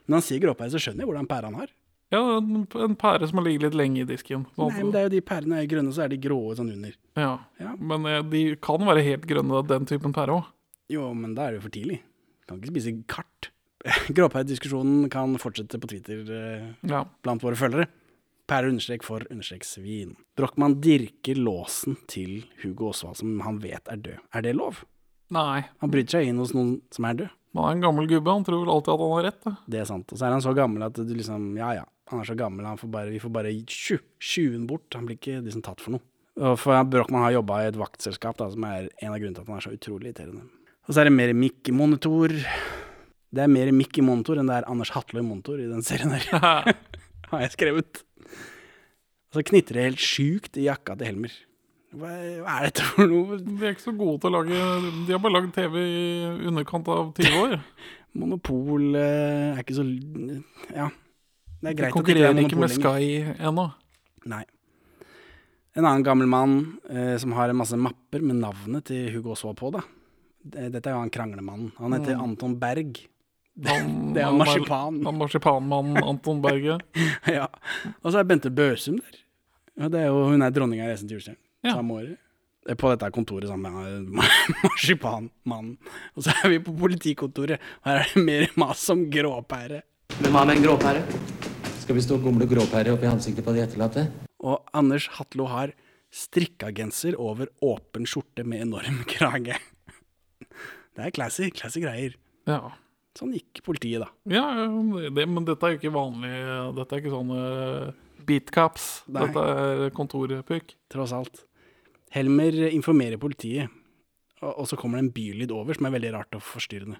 Men han sier gråpære, så skjønner jeg hvordan pære han har.
ja, en, en pære som har ligget litt lenge i disken. Sånn at-
Nei, men det er jo De pærene er grønne, så er de grå sånn under.
Ja.
Ja.
Men eh, de kan være helt grønne, den typen pære òg.
Jo, men da er det jo for tidlig. Kan ikke spise kart. Gråpærediskusjonen kan fortsette på Twitter eh,
Ja.
blant våre følgere. Pære understrek for understrek svin. Brochmann dirker låsen til Hugo Osvald, som han vet er død. Er det lov?
Nei.
Han bryter seg inn hos noen som er død.
Man er en gammel gubbe, han tror vel alltid at han har rett. Da.
Det er sant. Og så er han så gammel at du liksom Ja ja, han er så gammel, han får bare, vi får bare tju, tjuen bort. Han blir ikke liksom tatt for noe. Og for Brochmann har jobba i et vaktselskap, da, som er en av grunnene til at han er så utrolig irriterende. Og så er det mer Mikke Monitor. Det er mer Mikke Monitor enn det er Anders Hatlo i Monitor i den serien her, har jeg skrevet. Og så knitrer det helt sjukt i jakka til Helmer. Hva er hva er dette for noe?
De er ikke så gode til å lage De har bare lagd TV i underkant av 20 år.
Monopol eh, er ikke så l- Ja. Det er greit at det
De
ikke er
konkurrerer ikke med
monopol lenger.
Sky ennå.
Nei. En annen gammel mann eh, som har en masse mapper med navnet til Hugo Osvald på. da. Det- Dette er jo han kranglemannen. Han heter Anton Berg.
Han-
Det er
han er-
marsipan.
Han marsipanmannen Anton Berge.
ja. Og så er Bente Børsum der. Ja, det er jo, hun er dronninga i Reisen til julestjernen.
Ja.
Samme året. Det er På dette kontoret sammen med eh, marsipanmannen. Og så er vi på politikontoret, og her er det mer mas om gråpære.
Hvem har med en gråpære?
Skal vi stå og gomle gråpære oppi ansiktet på de etterlatte?
Og Anders Hatlo har strikka genser over åpen skjorte med enorm krage. Det er classy, classy greier.
Ja.
Sånn gikk politiet, da.
Ja, det, det- men dette er jo ikke vanlig Dette er ikke sånn eh, beat cops.
Nei.
Dette er kontorpykk.
Tross alt. Helmer informerer politiet, og, og så kommer det en bylyd over som er veldig rart og forstyrrende.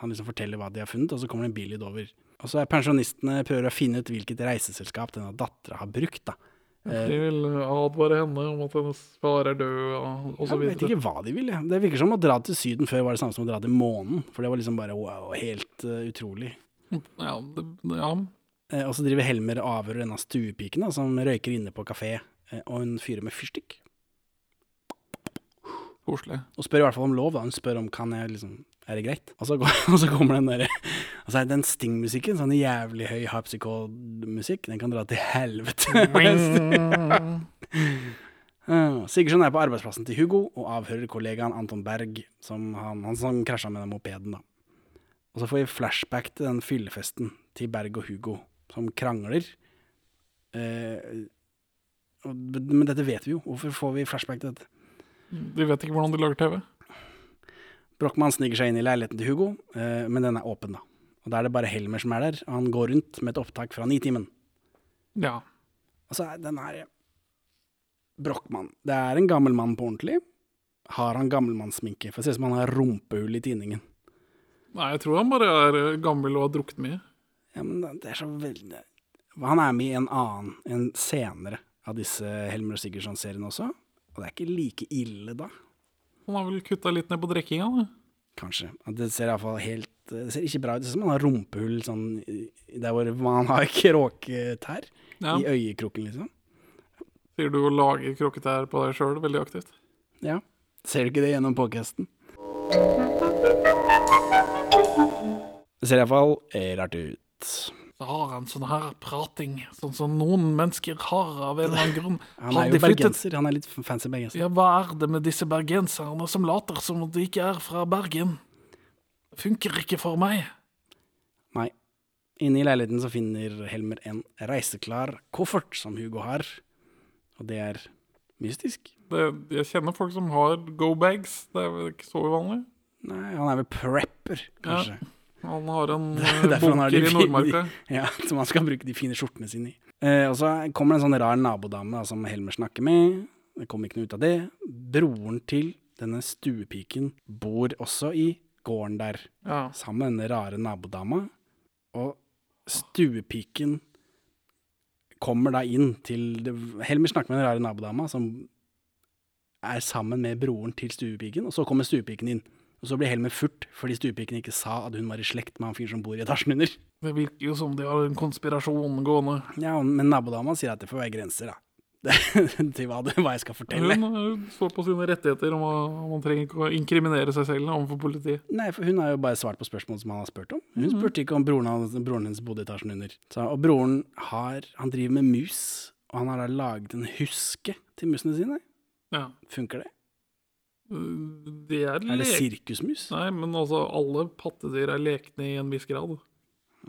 Han liksom forteller hva de har funnet, og så kommer det en bylyd over. Og så er pensjonistene prøver å finne ut hvilket reiseselskap denne dattera har brukt, da. Eh,
De vil advare henne om at hennes far er død, og, og så
Jeg vet
videre.
ikke hva de vil. jeg. Det virker som å dra til Syden før var det samme som å dra til månen. For det var liksom bare wow, helt eh, utrolig.
Ja, det, ja.
Eh, Og så driver Helmer og avhører denne stuepiken da, som røyker inne på kafé, eh, og hun fyrer med fyrstikk.
Koselig.
Og spør i hvert fall om lov, da. Hun spør om kan jeg liksom Er det greit? Og så, går, og så kommer den derre Og så er den Sting-musikken, sånn jævlig høy harpsichord-musikk, den kan dra til helvete.
Mm.
Eh, Sigurdsson er på arbeidsplassen til Hugo og avhører kollegaen Anton Berg, som han, han som krasja med den mopeden, da. Og så får vi flashback til den fyllefesten til Berg og Hugo, som krangler. Eh, og- men dette vet vi jo. Hvorfor får vi flashback til dette?
De vet ikke hvordan de lager TV.
Brochmann sniker seg inn i leiligheten til Hugo, eh, men den er åpen, da. Og da er det bare Helmer som er der, og han går rundt med et opptak fra Nitimen.
Ja.
Altså, den er Brochmann. Det er en gammel mann på ordentlig. Har han gammelmannssminke? For det ser ut som han har rumpehull i tinningen.
Nei, jeg tror han bare er eh, gammel og har drukket mye.
Ja, men det er så veldig Han er med i en annen, en senere av disse Helmer og Sigurdsson-seriene også. Og det er ikke like ille da,
Han har vel kutta litt ned på drikkinga, da.
kanskje. At Det ser iallfall helt eh, Det ser ikke bra ut. Det ser ut som han har rumpehull sånn i- der hvor man har kråketær.
Ja.
I øyekroken, liksom.
Sier du å lage krokketær på deg sjøl veldig aktivt?
Ja. Ser du ikke det gjennom podcasten? Det ser iallfall rart ut.
Da har han sånn her prating, sånn som noen mennesker har av en eller annen grunn.
Han er
Har
jo
de flyttet-
bergenser. Han er litt fancy bergenser.
Ja, hva er det med disse bergenserne som later som om de ikke er fra Bergen? Funker ikke for meg.
Nei. Inne i leiligheten så finner Helmer en reiseklar koffert som Hugo har. Og det er mystisk.
Det, jeg kjenner folk som har go-bags. Det er vel ikke så uvanlig.
Nei, han er vel prepper, kanskje.
Han har en
Det er
eh,
derfor han har de
bunker i
fine-
Nordmarka.
Ja, Som han skal bruke de fine skjortene sine i. Eh, og så kommer det en sånn rar nabodame da, som Helmer snakker med. Det kommer ikke noe ut av det. Broren til denne stuepiken bor også i gården der,
Ja.
sammen med denne rare nabodama. Og stuepiken kommer da inn til det, Helmer snakker med den rare nabodama, som er sammen med broren til stuepiken, og så kommer stuepiken inn. Og så blir Helmer furt fordi stuepiken ikke sa at hun var i slekt med han fyren som bor i etasjen under.
Det virker jo som de har en konspirasjon gående.
Ja, men nabodama sier at det får være grenser, da. Det- Til hva, du, hva jeg skal fortelle.
Hun eh, står på sine rettigheter om å- man trenger ikke å inkriminere seg selv overfor politiet.
Nei, for hun har jo bare svart på spørsmål som han har spurt om. Hun spurte ikke om broren, hans, broren hennes bodde i etasjen under. Så, og broren har, han driver med mus, og han har da laget en huske til musene sine.
Ja.
Funker det?
De er,
Er det
lek-
sirkusmus?
Nei, men altså, alle pattedyr er lekne i en viss grad.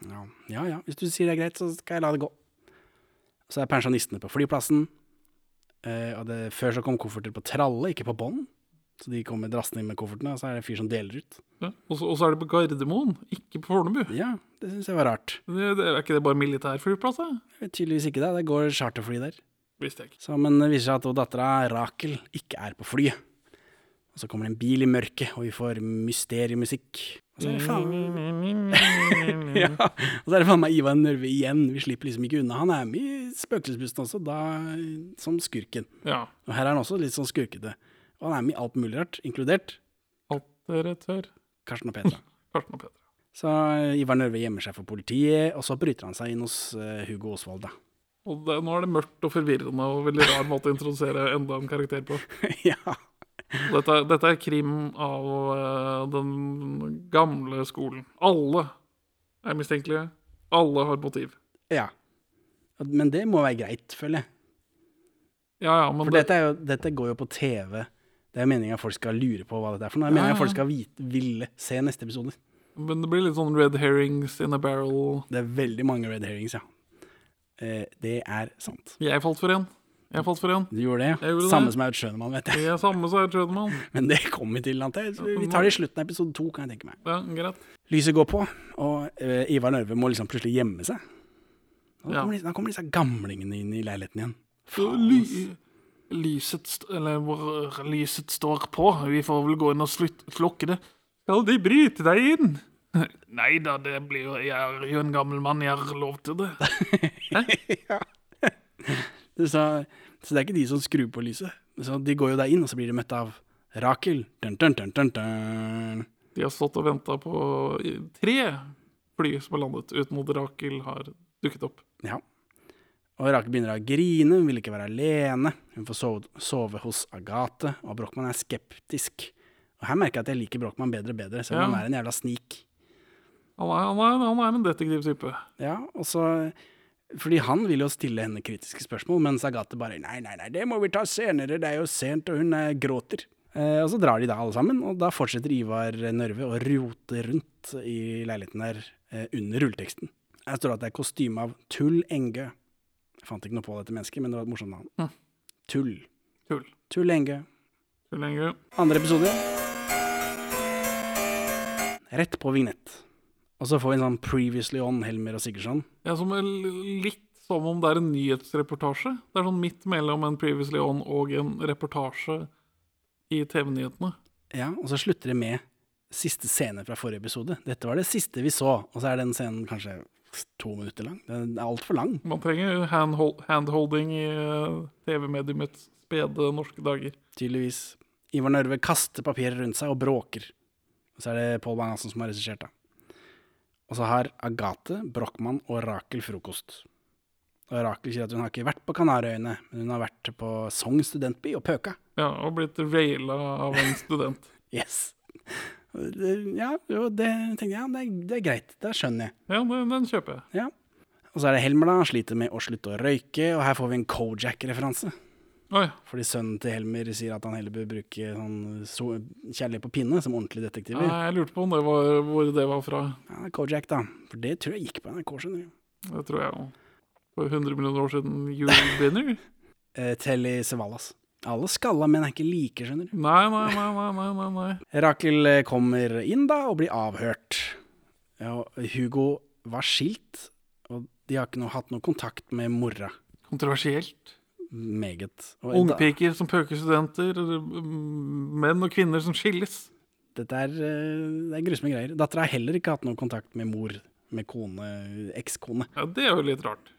Ja. ja ja, hvis du sier det er greit, så skal jeg la det gå. Så er pensjonistene på flyplassen. Eh, og det, før så kom kofferter på tralle, ikke på bånd. Så de kommer drassende inn med koffertene, og så er det en fyr som deler ut.
Ja. Og så og så er det på Gardermoen, ikke på Fornebu.
Ja, det syns jeg var rart.
Det, det, er ikke det bare militærflyplass? da?
Tydeligvis ikke det. Det går charterfly der.
Visste jeg ikke.
Så, men det viser seg at dattera Rakel ikke er på flyet. Og så kommer det en bil i mørket, og vi får mysteriemusikk. Og så er det faen, ja. og så er det faen meg Ivar Nørve igjen. Vi slipper liksom ikke unna. Han er med i Spøkelsesbussen også, da som skurken.
Ja.
Og her er han også litt sånn skurkete. Og han er med i alt mulig rart, inkludert
Alt dere tør.
Karsten og Petra.
Karsten og Petra.
Så eh, Ivar Nørve gjemmer seg for politiet, og så bryter han seg inn hos eh, Hugo Osvald, da.
Og det, nå er det mørkt og forvirrende og veldig rar måte å introdusere enda en karakter på.
ja.
Dette, dette er krim av eh, den gamle skolen. Alle er mistenkelige. Alle har motiv.
ja. Men det må være greit, føler jeg.
Ja, ja, men
For
det,
dette, er jo, dette går jo på TV. Det er meninga folk skal lure på hva dette er for noe. Det er meninga
Ah, ja.
folk skal vite, ville se neste episode.
men det blir litt sånn red herrings in a barrel.
Det er veldig mange red herrings, ja. Eh, det er sant.
Jeg falt for en. Jeg falt for en.
Du gjorde det, ja.
Jeg gjorde det.
Samme som Aud Schønemann, vet jeg.
Jeg er samme som jeg trodde, mann.
Men det kommer vi til, antar jeg. Så Vi tar det i slutten av episode to, kan jeg tenke meg.
Ja, greit.
Lyset går på, og eh, Ivar Nørve må liksom plutselig gjemme seg. Da
Ja.
kommer, disse- da kommer disse gamlingene inn i leiligheten igjen.
Ly, lyset, st- eller hvor lyset står på. Vi får vel gå inn og slutt, slukke det. Skal de bryte deg inn? Nei da, det blir jo Jeg er jo en gammel mann, jeg har lov til det.
Så, så det er ikke de som skrur på lyset. Så de går jo der inn, og så blir de møtt av Rakel. Dun, dun, dun, dun, dun.
De har stått og venta på i- tre fly som har landet, uten at Rakel har dukket opp.
Ja. Og Rakel begynner å grine, hun vil ikke være alene. Hun får sove, sove hos Agathe, og Brochmann er skeptisk. Og her merker jeg at jeg liker Brochmann bedre og bedre, selv om han
Ja.
er en jævla snik.
Han er, han er, han er en detektivtype.
Ja, og så Fordi han vil jo stille henne kritiske spørsmål, mens Agathe bare Nei, nei, nei, det må vi ta senere, det er jo sent, og hun eh, gråter. Eh, og så drar de da alle sammen, og da fortsetter Ivar Nørve å rote rundt i leiligheten der eh, under rulleteksten. Her står det at det er kostyme av Tull Engø. Jeg fant ikke noe på dette mennesket, men det var et morsomt navn.
Hm.
Tull.
Tull.
Tull Engø.
Tull lenge.
Andre episode. Rett på vignett. Og så får vi en sånn Previously On Helmer og Sigurdsson.
Ja, som er l- litt som om det er en nyhetsreportasje. Det er sånn midt mellom en Previously On og en reportasje i TV-nyhetene.
Ja, og så slutter det med siste scene fra forrige episode. Dette var det siste vi så, og så er den scenen kanskje to minutter lang. Den er altfor lang.
Man trenger jo handhold, handholding i eh, TV-mediumets spede norske dager.
Tydeligvis. Ivar Nørve kaster papirer rundt seg og bråker. Og så er det Pål Bang-Hansen som har regissert, da. Og så har Agathe, Brochmann og Rakel frokost. Og Rakel sier at hun har ikke vært på Kanariøyene, men hun har vært på Sogn studentby og pøka.
Ja, og blitt raila av en student.
Yes. Ja, jo, det tenkte jeg. Ja, det er, det er greit. Det skjønner jeg.
Ja, den, den kjøper jeg.
Ja. Og så er det Helmer, da. Han sliter med å slutte å røyke, og her får vi en Kojak-referanse.
Oi,
Fordi sønnen til Helmer sier at han heller bør bruke sånn so kjærlighet på pinne som ordentlige detektiver.
Nei, jeg lurte på om det var, hvor det var fra.
Ja, Kojak, da. For det tror jeg gikk på NRK, skjønner du.
Det tror jeg jo. For 100 millioner år siden Jule Dinner?
Eh, Telly Savalas. Alle skalla menn er ikke like, skjønner du.
Nei, nei, nei, nei, nei, nei, nei.
Rakel eh, kommer inn da, og blir avhørt. Ja, og Hugo var skilt, og de har ikke noe, hatt noe kontakt med mora.
Kontroversielt.
Meget. Og da-
Ungpiker som pøker studenter. mm, Menn og kvinner som skilles.
Dette er, eh, det er grusomme greier. Dattera har heller ikke hatt noen kontakt med mor, med kone, ekskone.
Ja, Det er jo litt rart.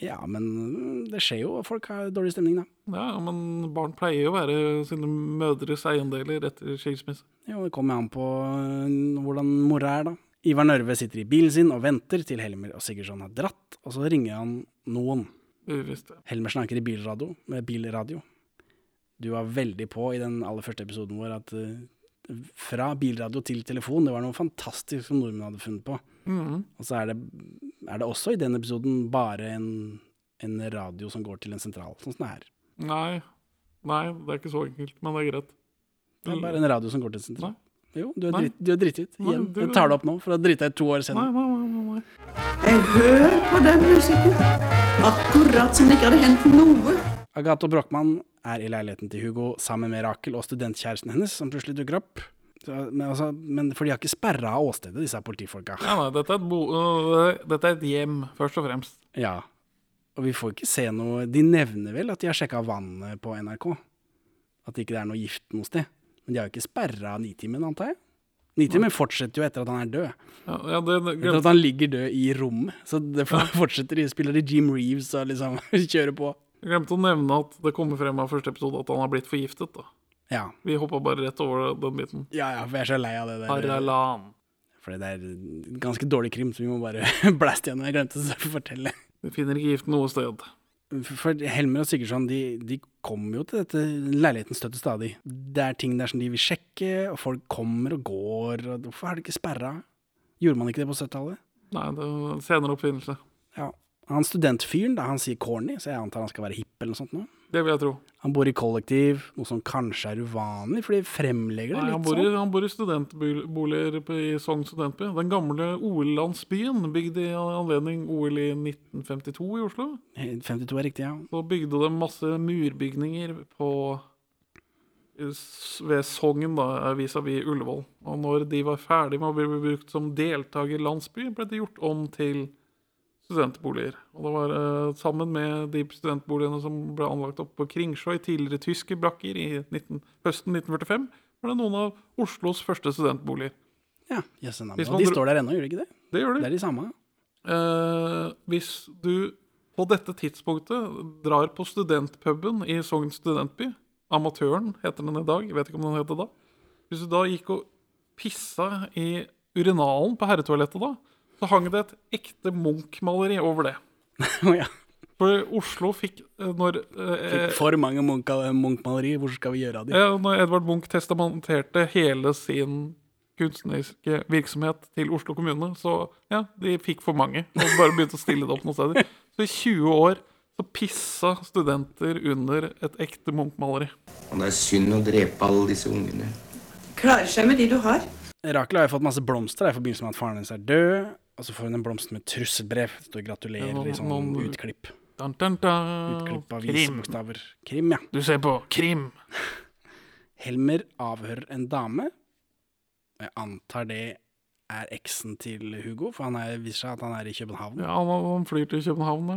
Ja, men mm, det skjer jo, og folk har dårlig stemning, da.
Ja, Men barn pleier jo å være sine mødres eiendeler etter skilsmisse.
Jo, det kommer an på eh, hvordan mora er, da. Ivar Nørve sitter i bilen sin og venter til Helmer og Sigurdsson har dratt, og så ringer han noen.
Uvisst. ja.
Helmer snakker i bilradio, med bilradio. Du var veldig på i den aller første episoden vår at eh, fra bilradio til telefon, det var noe fantastisk som nordmenn hadde funnet på.
Mhm.
Og så er det, er det også i den episoden bare en, en radio som går til en sentral, sånn som det er.
Nei. Nei, det er ikke så enkelt, men det er greit.
Det er bare en radio som går til en sentral.
Mm. Nei.
Jo, du er,
Nei.
dritt, du er dritt ut.
Nei,
Igjen.
du-
Jeg tar det opp nå, for da drita jeg ut to år
Nei,
senere.
nei, nei, nei, nei.
Jeg hører på den musikken. Akkurat som det ikke hadde hendt noe.
Agathe og Brochmann er i leiligheten til Hugo sammen med Rakel og studentkjæresten hennes, som plutselig dukker opp. Så, men, altså, men For de har ikke sperra av åstedet, disse politifolka.
Nei, nei, dette er, et bo øh, dette er et hjem, først og fremst.
Ja. Og vi får ikke se noe De nevner vel at de har sjekka vannet på NRK? At det ikke er noe gift noe sted? Men de har jo ikke sperra Nitimen, antar jeg? Nitimen fortsetter jo etter at han er død.
Ja, ja, det, det,
Etter at han ligger død i rommet. Så det for- fortsetter de, spiller de Jim Reeves og liksom kjører på.
Jeg glemte å nevne at det kommer frem av første episode at han har blitt forgiftet. da.
Ja.
Vi hoppa bare rett over den biten.
ja ja, for jeg er så lei av det der.
Haralan.
For det er en ganske dårlig krim, så vi må bare blaste gjennom. Jeg glemte å fortelle.
Du finner ikke giften noe sted.
For Helmer og Sigurdsson de, de kommer jo til dette leiligheten støtt og stadig. Det er ting der som de vil sjekke, og folk kommer og går. Og hvorfor har de ikke sperra? Gjorde man ikke det på 70-tallet?
Nei, det var en senere oppfinnelse.
Ja. Han studentfyren, da han sier corny, så jeg antar han skal være hipp eller noe sånt nå.
Det vil jeg tro.
Han bor i kollektiv, noe som kanskje er uvanlig, for de fremlegger det
Nei,
litt
han, bor i,
sånn.
han bor i studentboliger på- i Sogn studentby. Den gamle OL-landsbyen, bygd i anledning OL i 1952 i Oslo.
52 er riktig, ja.
Så bygde de masse murbygninger på s- ved Sogn, da, vis-à-vis Ullevål. Og når de var ferdig med å bli brukt som deltakerlandsby, ble det gjort om til studentboliger. Og det var eh, sammen med de studentboligene som ble anlagt opp på Kringsjå i tidligere tyske brakker i 19, høsten 1945, var det noen av Oslos første studentboliger.
Ja, jøsse navn.
Hvis
Og
man
de
dro-
står der ennå, gjør de ikke det?
Det gjør de.
Det er de samme.
Eh, hvis du på dette tidspunktet drar på studentpuben i Sogn studentby Amatøren heter den i dag. jeg Vet ikke om den heter da. Hvis du da gikk og pissa i urinalen på herretoalettet da, så hang det et ekte Munch-maleri over det.
Å ja.
For Oslo fikk, eh, når eh,
Fikk for mange Munch- Munch-malerier, hvor skal vi gjøre av dem?
Ja, når Edvard Munch testamenterte hele sin kunstneriske virksomhet til Oslo kommune, så ja, de fikk for mange og bare begynte å stille det opp noen steder. Så i 20 år så pissa studenter under et ekte Munch-maleri.
Og det er synd å drepe alle disse ungene.
Klarer seg med de du har.
Rakel har jo fått masse blomster da, i forbindelse med at faren hennes er død. Og så får hun en blomst med trusselbrev. Det står 'gratulerer' i
Ja,
sånn
noen-
utklipp.
Dun, dun, dun.
Utklipp av
Krim.
visebokstaver. Krim, ja.
Du ser på krim.
Helmer avhører en dame. Jeg antar det er eksen til Hugo, for han er, viser seg at han er i København.
Ja, han, han flyr til København, ja.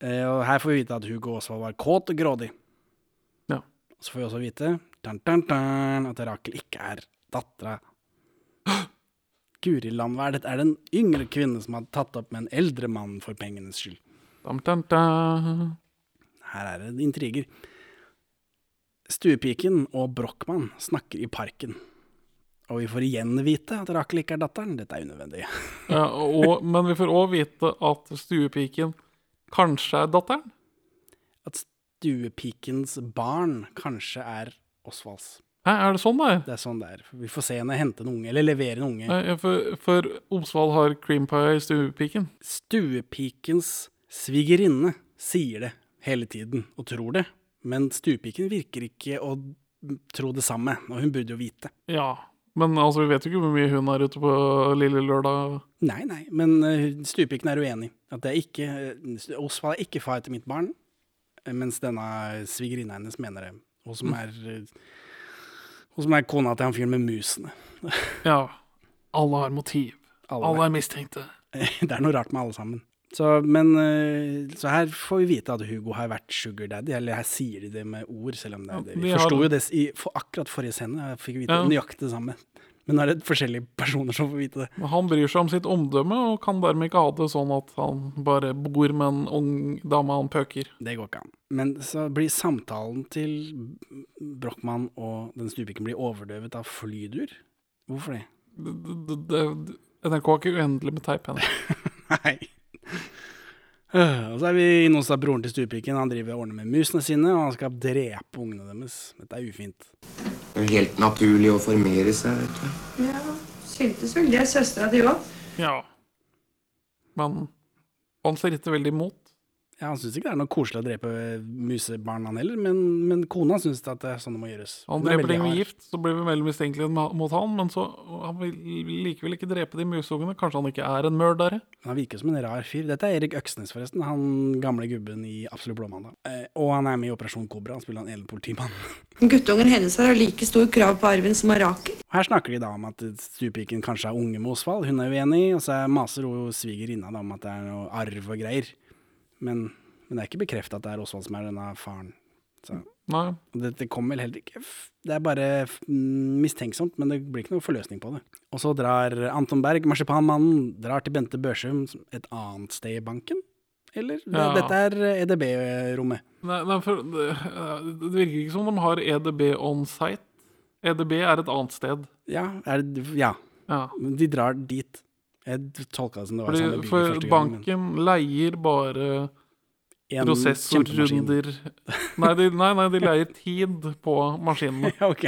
Eh, og her får vi vite at Hugo Osvald var kåt og grådig.
Ja.
Så får vi også vite tan, tan, tan, at Rakel ikke er dattera. Guri land, hva er dette? Er det en yngre kvinne som har tatt opp med en eldre mann for pengenes skyld?
Dun, dun, dun.
Her er det intriger. Stuepiken og Brochmann snakker i parken. Og vi får igjen vite at Rakel ikke er datteren. Dette er unødvendig.
Ja, og, men vi får òg vite at stuepiken kanskje er datteren.
At stuepikens barn kanskje er Osvalds.
Hæ, er det sånn det er?
Det er sånn det er. Vi får se henne hente en unge, eller levere en unge.
Nei, for, for Osvald har cream pie i stuepiken.
Stuepikens svigerinne sier det hele tiden, og tror det. Men stuepiken virker ikke å tro det samme, og hun burde jo vite.
Ja. Men altså, vi vet jo ikke hvor mye hun er ute på lille lørdag.
Nei, nei, men eh, stuepiken er uenig. At det er ikke, eh, Osvald er ikke far til mitt barn, eh, mens denne svigerinna hennes mener det. Hun som er, eh, hun som er kona til han fyren med musene.
Ja. Alle har motiv.
Alle-
Alle er mistenkte.
det er noe rart med alle sammen. Så, men, eh, så her får vi vite at Hugo har vært sugar daddy, eller her sier de det med ord, selv om det er det.
de
Vi
har
forsto
det.
jo det i for akkurat forrige scene, jeg fikk vite
Ja.
nøyaktig det samme. Men nå er det forskjellige personer som får vite det.
Men han bryr seg om sitt omdømme og kan dermed ikke ha det sånn at han bare bor med en ung dame han pøker.
Det går ikke an. Men så blir samtalen til Brochmann og den stupiken blir overdøvet av flydur. Hvorfor det?
D- d- d- d- NRK har ikke uendelig med teip henne.
Nei. Øh, Og så er vi inne hos da broren til stupiken. Han driver og ordner med musene sine, og han skal drepe ungene deres. Dette er ufint.
Det er helt naturlig å formere seg, vet du.
Ja, syntes vel det søstera di òg.
Ja. Men han ser ikke veldig imot.
Ja, Han syns ikke det er noe koselig å drepe musebarn, han heller, men, men kona syns at det er sånn det må gjøres.
Han
Hun er
dreper
veldig
ting med
hard.
gift, så blir vi veldig mistenkelige ma- mot han, men så han vil likevel ikke drepe de musungene. Kanskje han ikke er en mørdere?
Han virker som en rar fyr. Dette er Erik Øksnes, forresten. Han gamle gubben i Absolutt blåmandag. Eh, og han er med i Operasjon Kobra. Han spiller en edel politimann.
Guttungen hennes har like stor krav på arven som Araker.
Og Her snakker de da om at stuepiken kanskje er unge med Osvald. Hun er uenig, og så er- maser hun svigerinna da om at det er noe arv og greier. Men, men det er ikke bekrefta at det er Osvald som er denne faren. Så.
Nei.
Og Dette kommer vel heller ikke f- Det er bare f- mm, mistenksomt, men det blir ikke noe forløsning på det. Og så drar Anton Berg, marsipanmannen, drar til Bente Børsum som et annet sted i banken? Eller? Det-
Ja.
Dette er E EDB-rommet.
Nei, nei for det, det virker E ikke som de har EDB on site. EDB er et annet sted.
Ja, er det, ja.
Ja.
Men de drar dit. Jeg tolka det som det var samme
Fordi,
bil
for
første gang. men
banken leier bare
en kjempemaskin.
prosessorrunder nei de, nei, nei, de leier tid på maskinene.
Ja, ok.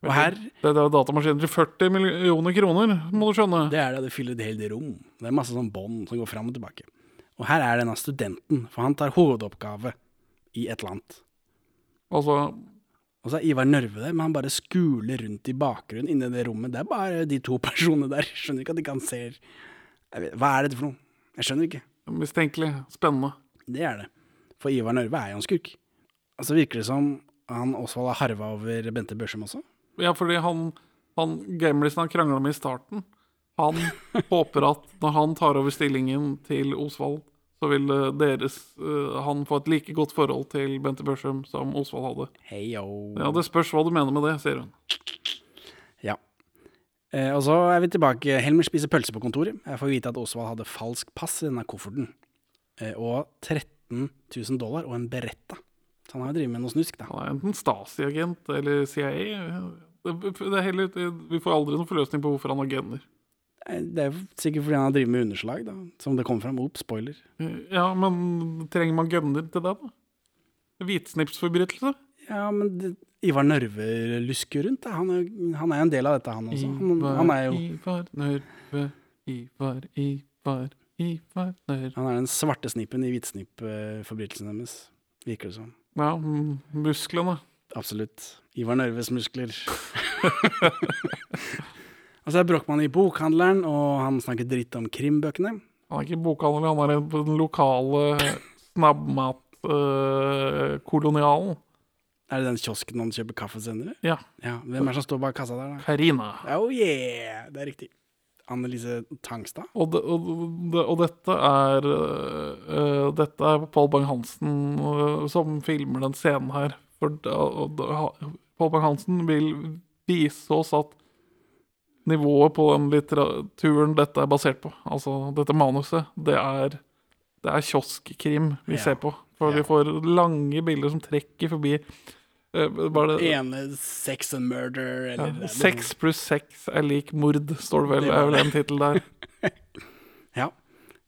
Og her,
Det er jo datamaskiner til 40 millioner kroner, må du skjønne.
det er det, det fyller et helt rom. Det er masse sånn bånd som går fram og tilbake. Og her er denne studenten, for han tar hovedoppgave i et eller annet.
Altså,
Og så er Ivar Nørve der, men han bare skuler rundt i bakgrunnen inni det rommet. Det er bare de to personene der. Jeg skjønner ikke at de kan se jeg vet, Hva er dette for noe? Jeg skjønner ikke.
mistenkelig. Spennende.
Det er det. For Ivar Nørve er jo en skurk. Og så virker det som han Osvald har harva over Bente Børsum også.
Ja, fordi han, han gamlisen han krangla med i starten, han håper at når han tar over stillingen til Osvald, så vil eh, deres eh, Han få et like godt forhold til Bente Børsum som Osvald hadde.
Hei, yo.
Ja, det spørs hva du mener med det, sier hun.
Ja. Eh, og så er vi tilbake. Helmer spiser pølse på kontoret. Jeg får vite at Osvald hadde falsk pass i denne kofferten. Eh, og 13 000 dollar og en beretta. Så han har jo drevet med noe snusk, da.
Han er enten Stasi-agent eller CIA. Det, det er heller, det, vi får aldri noen forløsning på hvorfor han har gener.
Eh, Det er jo sikkert fordi han har drevet med underslag, da. Som det kom fram. Ops, spoiler.
Ja, men trenger man gener til det, da? Hvitsnipsforbrytelse?
Ja, men det, Ivar Nørve lusker rundt, da. Han er, jo- han er jo en del av dette, han også. Han, han er jo
Ivar, Nørve, Ivar, Ivar, Ivar, Nørve
han er den svarte snippen i hvitsnippforbrytelsen deres, virker det som.
Ja, mm, musklene.
Absolutt. Ivar Nørves muskler. Og så er Brochmann i bokhandleren, og han snakker dritt om krimbøkene.
Han er ikke bokhandler, han er en- på den lokale snabbmatkolonialen.
Er det den kiosken han kjøper kaffe senere?
ja,
Ja, Hvem er det som står bak kassa der, da?
Karina.
Oh yeah! Det er riktig. Annelise Tangstad?
Og, det, og, det, og dette er øh, Dette er Pål Bang-Hansen øh, som filmer den scenen her. For da- og da- ha- Pål Bang-Hansen vil vise oss at nivået på den litteraturen dette er basert på, altså dette manuset, det er, det er kioskkrim vi
Ja.
ser på. For vi får lange bilder som trekker forbi øh, Hva er det?
Ene sex and murder, eller
Ja, Sex pluss sex er lik mord, står det vel.
Det var
Er vel
det.
en tittel der.
Ja,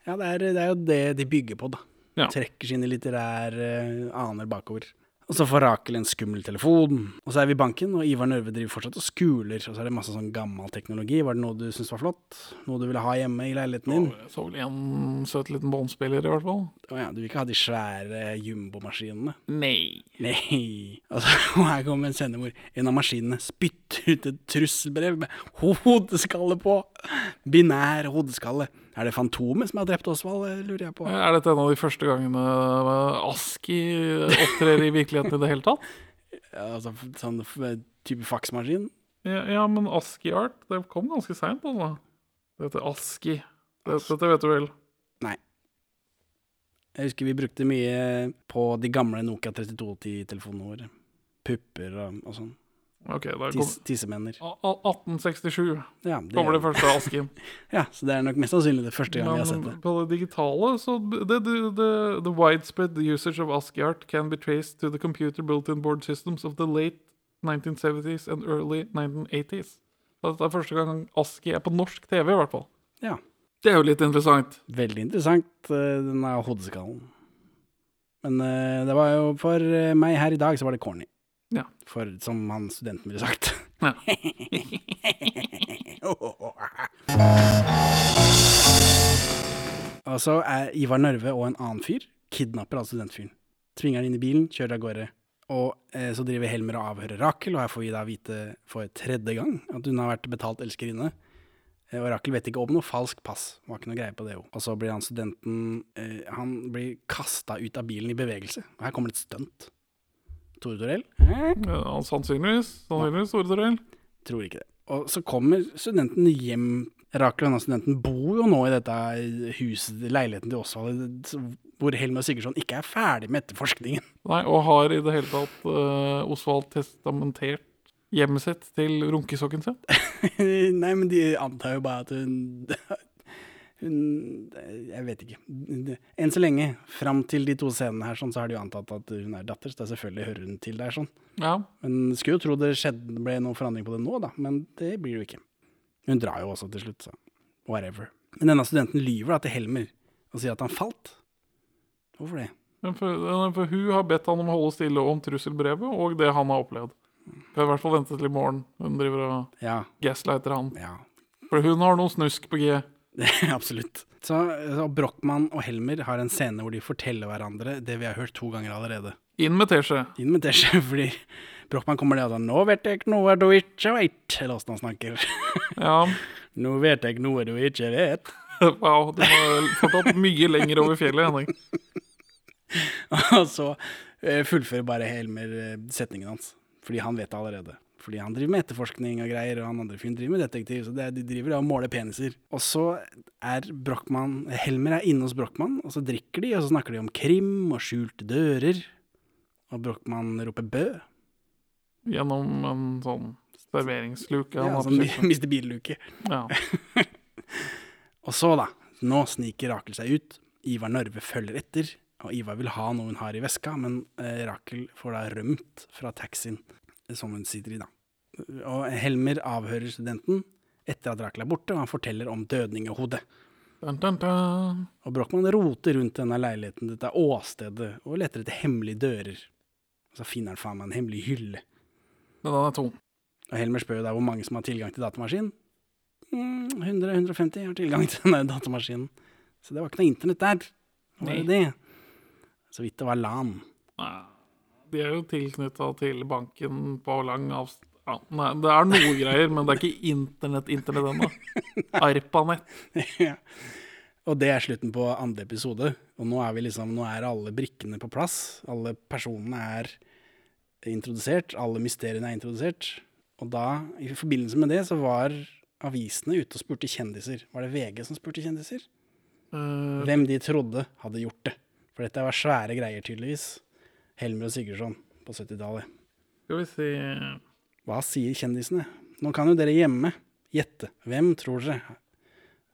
ja det, er, det er jo det de bygger på, da.
Ja.
Trekker sine litterære eh, aner bakover. Og så får Rakel en skummel telefon. Og så er vi i banken, og Ivar Nørve driver fortsatt og skuler. Og så er det masse sånn gammel teknologi. Var det noe du syntes var flott? Noe du ville ha hjemme i leiligheten din?
Jeg så vel en søt liten båndspiller, i hvert fall.
Å ja, du vil ikke ha de svære eh, jumbomaskinene?
Nei.
Nei. Og så og her kommer en sending hvor en av maskinene spytter ut et trusselbrev med hodeskalle på. Binær hodeskalle. Er det Fantomet som har drept Osvald, eh, lurer jeg på.
Er dette en av de første gangene eh, Aski eh, opptrer i virkeligheten i det hele tatt?
Altså f- sånn f- type faksmaskin.
Ja, ja men Aski Art, det kom ganske seint, altså. Det heter Aski. Dette, dette vet du vel.
Jeg husker vi brukte mye på de gamle Nokia 3210-telefonene våre. Pupper og, og sånn.
Ok, da kom,
Tis, tissemenner.
a- a- 1867
Ja, det,
kommer det
er-
første Askin.
ja, så det er nok mest sannsynlig det første gang vi har sett det.
Men på det digitale så the, the, the, the widespread usage of ASCII art can be traced to the computer built-in board systems of the late 1970s and early 1980s. Så Dette er første gang ASCII er på norsk TV, i hvert fall.
Ja.
Det er jo litt interessant.
Veldig interessant, eh, den der hodeskallen. Men eh, det var jo for eh, meg her i dag, så var det corny.
Ja.
For som han studenten ville sagt.
Ja.
Og så er Ivar Nørve og en annen fyr kidnapper av studentfyren. Tvinger han inn i bilen, kjører av gårde. Og eh, så driver Helmer og avhører Rakel, og her får vi da vite for tredje gang at hun har vært betalt elskerinne. Eh, Og Rakel vet ikke om noe falskt pass. Var ikke noe greie på det jo. Og så blir han studenten eh, Han blir kasta ut av bilen i bevegelse. Og her kommer det et stunt. Tore Torell?
Ja, sannsynligvis. Sannsynligvis, Tore Torell.
Tror ikke det. Og så kommer studenten hjem. Rakel og denne studenten bor jo nå i dette huset, leiligheten til Osvald, hvor Helmer Sigurdsson ikke er ferdig med etterforskningen.
Nei, og har i det hele tatt eh, Osvald testamentert hjemmet sitt til runkesokken sin?
Nei, men de antar jo bare at hun Hun Jeg vet ikke. Enn så lenge, fram til de to scenene her, sånn, så har de jo antatt at hun er datter, så det er selvfølgelig hører hun til der, sånn.
Ja.
Men skulle jo tro det skjedde, ble noen forandring på det nå, da. Men det blir det jo ikke. Hun drar jo også til slutt, så whatever. Men denne studenten lyver da til Helmer og sier at han falt. Hvorfor det?
Men For, eh, for hun har bedt han om å holde stille om trusselbrevet og det han har opplevd. Kan i hvert fall vente til i morgen. Hun driver og
Ja,
gaslighter han.
ja,
For hun har noe snusk på G.
absolutt. Så, så Brochmann og Helmer har en scene hvor de forteller hverandre det vi har hørt to ganger allerede.
Inn med teskje.
Inn med teskje, fordi Brochmann kommer ned og sier 'Nå vet jeg noe du ikke vet', eller åssen han snakker.
Ja,
'Nå vet jeg noe du ikke vet'.
wow, du var fortsatt mye lenger over fjellet, Henrik.
Og så eh, fullfører bare Helmer eh, setningen hans, fordi han vet det allerede. Fordi han driver med etterforskning og greier, og han andre fyren driver med detektiv, så det, er- de driver da og måler peniser. Og så er Brochmann Helmer er inne hos Brochmann, og så drikker de, og så snakker de om krim og skjulte dører. Og Brochmann roper 'bø',
Gjennom en sånn serveringsluke. han
ja, sånn
har
som
på kjøkkenet.
mister billuke.
ja.
Og så, da. Nå sniker Rakel seg ut. Ivar Narve følger etter. Og Ivar vil ha noe hun har i veska, men eh, Rakel får da rømt fra taxien eh, som hun sitter i, da. Og Helmer avhører studenten etter at Rakel er borte, og han forteller om dødningehodet.
Dun, dun, dun.
Og Brochmann roter rundt denne leiligheten, dette åstedet, og leter etter hemmelige dører. Og så finner han faen meg en hemmelig hylle.
Men den er tom.
Og Helmer spør jo der hvor mange som har tilgang til datamaskinen. Mm, 100-150 har tilgang til denne datamaskinen. Så det var ikke noe internett der. Det var jo det. Så vidt det var LAN.
Nei, De er jo tilknytta til banken på lang avstand ja, Nei, det er noe greier, men det er ikke internett-internett ennå. Arpanett.
Ja. og det er slutten på andre episode. Og nå er vi liksom, nå er alle brikkene på plass. Alle personene er introdusert. Alle mysteriene er introdusert. Og da, i forbindelse med det, så var avisene ute og spurte kjendiser. Var det VG som spurte kjendiser?
Eh,
Hvem de trodde hadde gjort det. For dette var svære greier, tydeligvis. Helmer og Sigurdsson på 70-tallet.
skal vi si
Hva sier kjendisene? Nå kan jo dere hjemme gjette. Hvem tror dere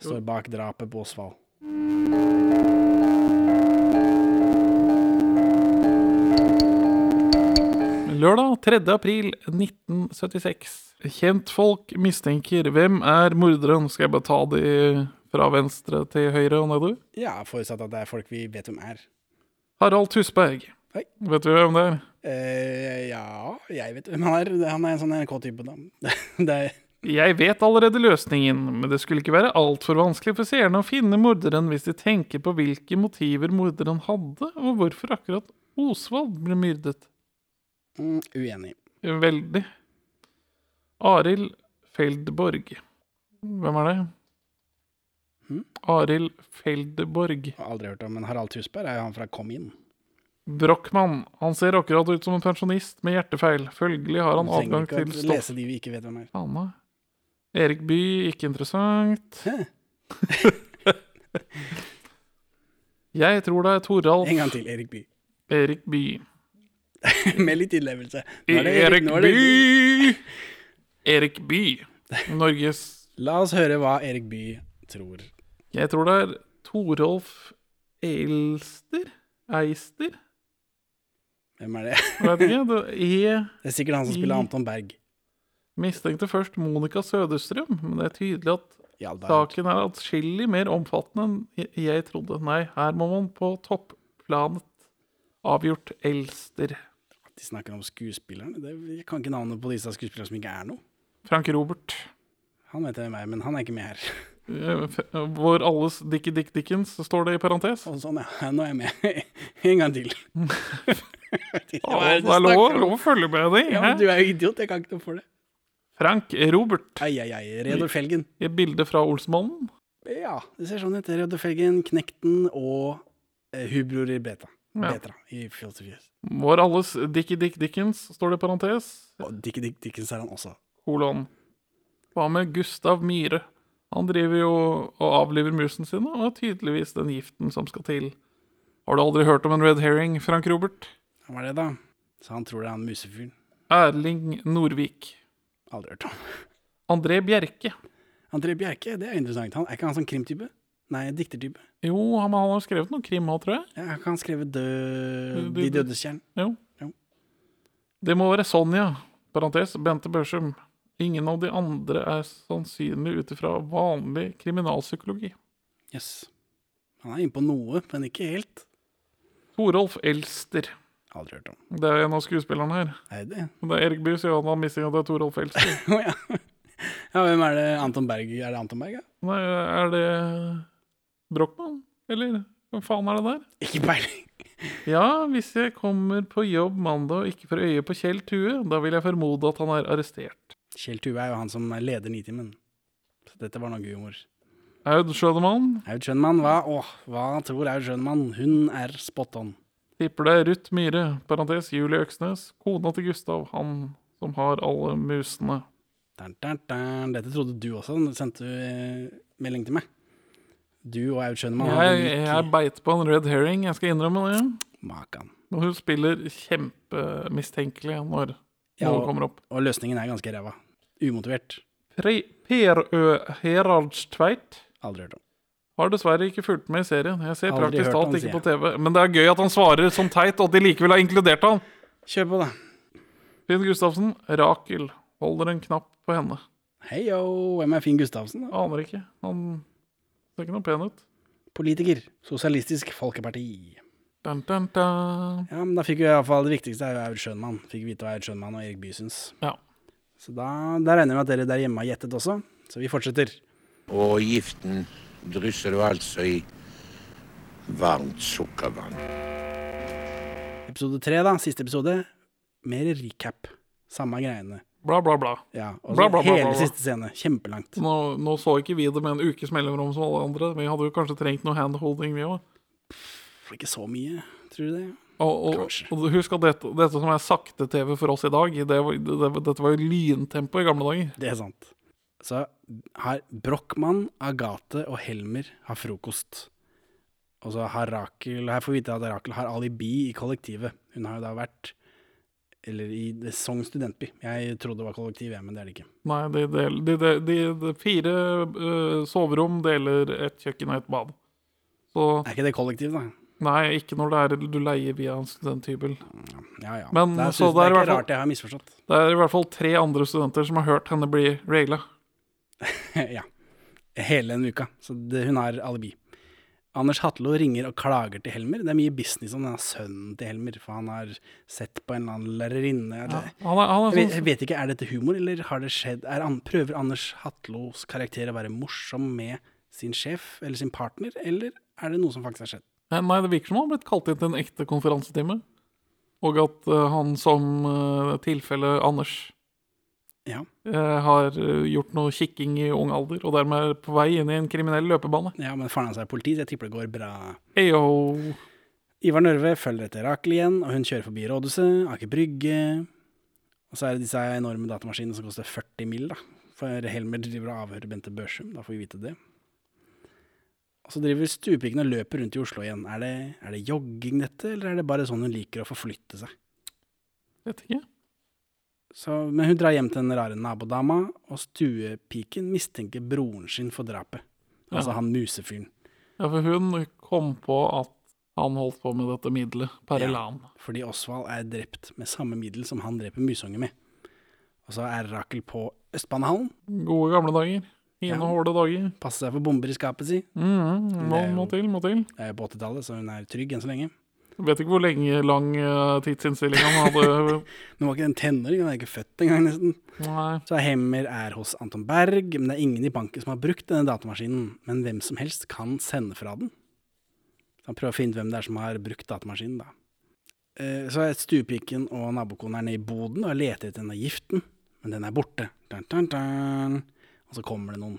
står bak drapet på Osvald?
Lørdag 3. april 1976. Kjentfolk mistenker. Hvem er morderen? Skal jeg bare ta de fra venstre til høyre og nedover?
Ja, forutsatt at det er folk vi vet hvem er.
Harald Tusberg.
Hei.
Vet du hvem det er?
eh, ja, jeg vet hvem han er. Han er en sånn NRK-type, da. Det er,
Jeg vet allerede løsningen, men det skulle ikke være altfor vanskelig for seerne å finne morderen hvis de tenker på hvilke motiver morderen hadde, og hvorfor akkurat Osvald ble myrdet.
mm, uenig.
Veldig. Arild Feldborg. Hvem er det?
Hm?
Arild Feldborg.
Har aldri hørt om, men Harald Tusberg er jo han fra Kom inn.
Brochmann. Han ser akkurat ut som en pensjonist med hjertefeil. Følgelig har han
Trenger
adgang
ikke
til
å
stoff.
lese de vi ikke vet hvem er.
Faen, da. Erik By, ikke interessant.
Hæ?
Jeg tror det er Toralf
En gang til, Erik Bye.
Erik By.
Med litt innlevelse. Nå er det
Erik
nå er det-
By! Erik By. Norges
La oss høre hva Erik Bye tror.
Jeg tror det er Torolf Elster? Eister?
Hvem er det?
Jeg Vet ikke. Det er E
Det er sikkert han som spiller Anton Berg.
mistenkte først Monica Søderstrøm, men det er tydelig at
I all verden.
saken er atskillig mer omfattende enn jeg- jeg trodde. Nei, her må man på topplanet. Avgjort Elster.
De snakker om skuespillerne. Det, jeg kan ikke navnet på disse skuespillerne som ikke er noe.
Frank Robert.
Han vet hvem er, men han er ikke med her.
Eh, f- Vår alles Dickie Dick Dickens, står det i parentes.
Og sånn, ja. Nå er jeg med. En gang til.
Å,
Hva
det
er det du
er lov,
snakker om?
lov å følge med deg.
Ja, men
hæ?
du er jo idiot. Jeg kan ikke noe for det.
Frank Robert.
Ai, ai, ai. Reodor Felgen.
I et bilde fra Olsmannen.
Ja, det ser sånn ut. Reodor Felgen, Knekten og eh, Hubror i Beta. Betra i Fjols og Fjøs.
Vår alles Dickie Dick Dickens, står det i parentes.
Og Dick Dick Dickens er han også.
Kolon. Hva med Gustav Myhre? Han driver jo og avliver musene sine, og er tydeligvis den giften som skal til. Har du aldri hørt om en red herring, Frank Robert?
Han var det, da. Så han tror det er han musefyren.
Erling Norvik.
Aldri hørt om.
André Bjerke.
André Bjerke, det er interessant. Han, er ikke han sånn krimtype? Nei, diktertype.
Jo, han, han har skrevet noe krim òg, tror jeg.
Ja, han kan skrive død... De dødes kjern.
Jo.
Jo.
Det må være Sonja, parentes, Bente Børsum. Ingen av de andre er sannsynlig ut ifra vanlig kriminalpsykologi.
Yes. Han er inne på noe, men ikke helt.
Torolf Elster.
Aldri hørt om.
Det er en av skuespillerne her.
Er det det?
Men Det er Erik Bye sier han har mistinga til Torolf Elster.
Å ja. ja. Hvem er det? Anton Berg? Er det Anton Berg, ja?
Nei, er det Brochmann? Eller hvem faen er det der?
Ikke peiling.
Ja, hvis jeg kommer på jobb mandag og ikke får øye på Kjell Tue, da vil jeg formode at han er arrestert.
Kjell Tuve er jo han som leder Nitimen. Så dette var noe gøy humor.
Aud Schødemann,
Aud Schønmann, hva? Åh, hva tror Aud Schønmann? Hun er spot on.
tipper det er Ruth Myhre, parentes Julie Øksnes, kona til Gustav, han som har alle musene.
Dun, dun, dun. Dette trodde du også, da du sendte eh, melding til meg. Du og Aud Schønmann
Jeg, jeg beit på en red herring, jeg skal innrømme det.
Makan.
Men hun spiller kjempemistenkelig når
Ja,
noe kommer opp.
Og løsningen er ganske ræva. Umotivert.
Pre per Ø Heraldstveit
Aldri hørt om.
har dessverre ikke fulgt med i serien. Jeg ser
Aldri
praktisk
hørt
talt
han,
ikke
sier
på TV. Men det er gøy at han svarer som teit, og at de likevel har inkludert han.
Kjør på, da.
Finn Gustavsen, Rakel, holder en knapp på henne.
Hei yo, hvem er Finn Gustavsen? da?
Aner ikke. Han ser ikke noe pen ut.
Politiker. Sosialistisk Folkeparti.
Dun, dun, dun.
Ja, men da fikk vi i hvert fall det viktigste er jo Aud Schønmann. Fikk vite hva Aud Schønmann og Erik Bye syns.
Ja.
Så da, da regner vi med at dere der hjemme har gjettet også. Så vi fortsetter.
Og giften drysser du altså i varmt sukkervann.
Episode tre, da. Siste episode. Mer recap. Samme greiene.
Bla, bla, bla.
Ja, og så
Bla, bla, bla,
hele
bla, bla.
siste scene. Kjempelangt.
Nå, nå så ikke vi det med en ukes mellomrom som alle andre. Vi hadde jo kanskje trengt noe handholding, vi òg.
Får Ikke så mye, tror du det?
Og, og,
Kanskje.
og husk at dette, dette som er sakte-TV for oss i dag, det, var- det, dette var jo lyntempo i gamle dager.
Det er sant. Så har Brochmann, Agathe og Helmer har frokost. Og så har Rakel Her får vi vite at Rakel har alibi i kollektivet. Hun har jo da vært Eller i det- Sogn studentby. Jeg trodde det var kollektiv, jeg, men det er det ikke.
Nei, de, del- de, de, de, de fire øh, soverom deler et kjøkken og et bad. Så
Er ikke det kollektiv, da?
nei, ikke når det er du leier via en studenthybel.
Ja ja.
Men
det er,
så
synes-
det er i
det er ikke
hvert fall-
rart jeg har misforstått.
Det er i hvert fall tre andre studenter som har hørt henne bli regla.
ja. Hele den uka. Så det, hun har alibi. Anders Hatlo ringer og klager til Helmer. Det er mye business om denne sønnen til Helmer, for han har sett på en eller annen lærerinne. eller-
Han er, han
Jeg
er
vet, jeg
sånn,
vet ikke, er dette humor, eller har det skjedd er, an- Prøver Anders Hatlos karakter å være morsom med sin sjef eller sin partner, eller er det noe som faktisk har skjedd?
eh, nei, det virker som han har blitt kalt inn til en ekte konferansetime. Og at eh, han som uh, tilfelle Anders
Ja.
eh, har eh, gjort noe kikking i ung alder, og dermed er på vei inn i en kriminell løpebane.
ja, men faren hans er politi, så jeg tipper det går bra.
Eyo.
Ivar Nørve følger etter Rakel igjen, og hun kjører forbi rådhuset, Aker Brygge. Og så er det disse enorme datamaskinene som koster 40 mill., da. For Helmer driver og avhører Bente Børsum, da får vi vite det. Og så driver stuepiken og løper rundt i Oslo igjen. Er det, er det jogging, dette, eller er det bare sånn hun liker å forflytte seg?
Vet ikke.
Så, men hun drar hjem til den rare nabodama, og stuepiken mistenker broren sin for drapet. Altså
Ja.
han musefyren.
Ja, for hun kom på at han holdt på med dette middelet, Parelan.
Fordi Osvald er drept med samme middel som han dreper musungen med. Og så er Rakel på Østbanehallen.
Gode gamle dager. Hine
Ja.
hårde dager.
Passer seg for bomber i skapet si.
Mm, må,
Det er jo-
må til, må til.
Det er jo på 80-tallet, så hun er trygg enn så lenge.
Vet ikke hvor lenge lang eh, tidsinnstilling han hadde.
Men var ikke den tenåring, hun er ikke født engang, nesten.
Nei.
Så Hemmer er hos Anton Berg, men det er ingen i banken som har brukt denne datamaskinen. Men hvem som helst kan sende fra den. Så han prøver å finne ut hvem det er som har brukt datamaskinen, da. Eh, Så er stuepiken og nabokona er nede i boden og leter etter denne giften, men den er borte. Dun, dun, dun. Og så kommer det noen.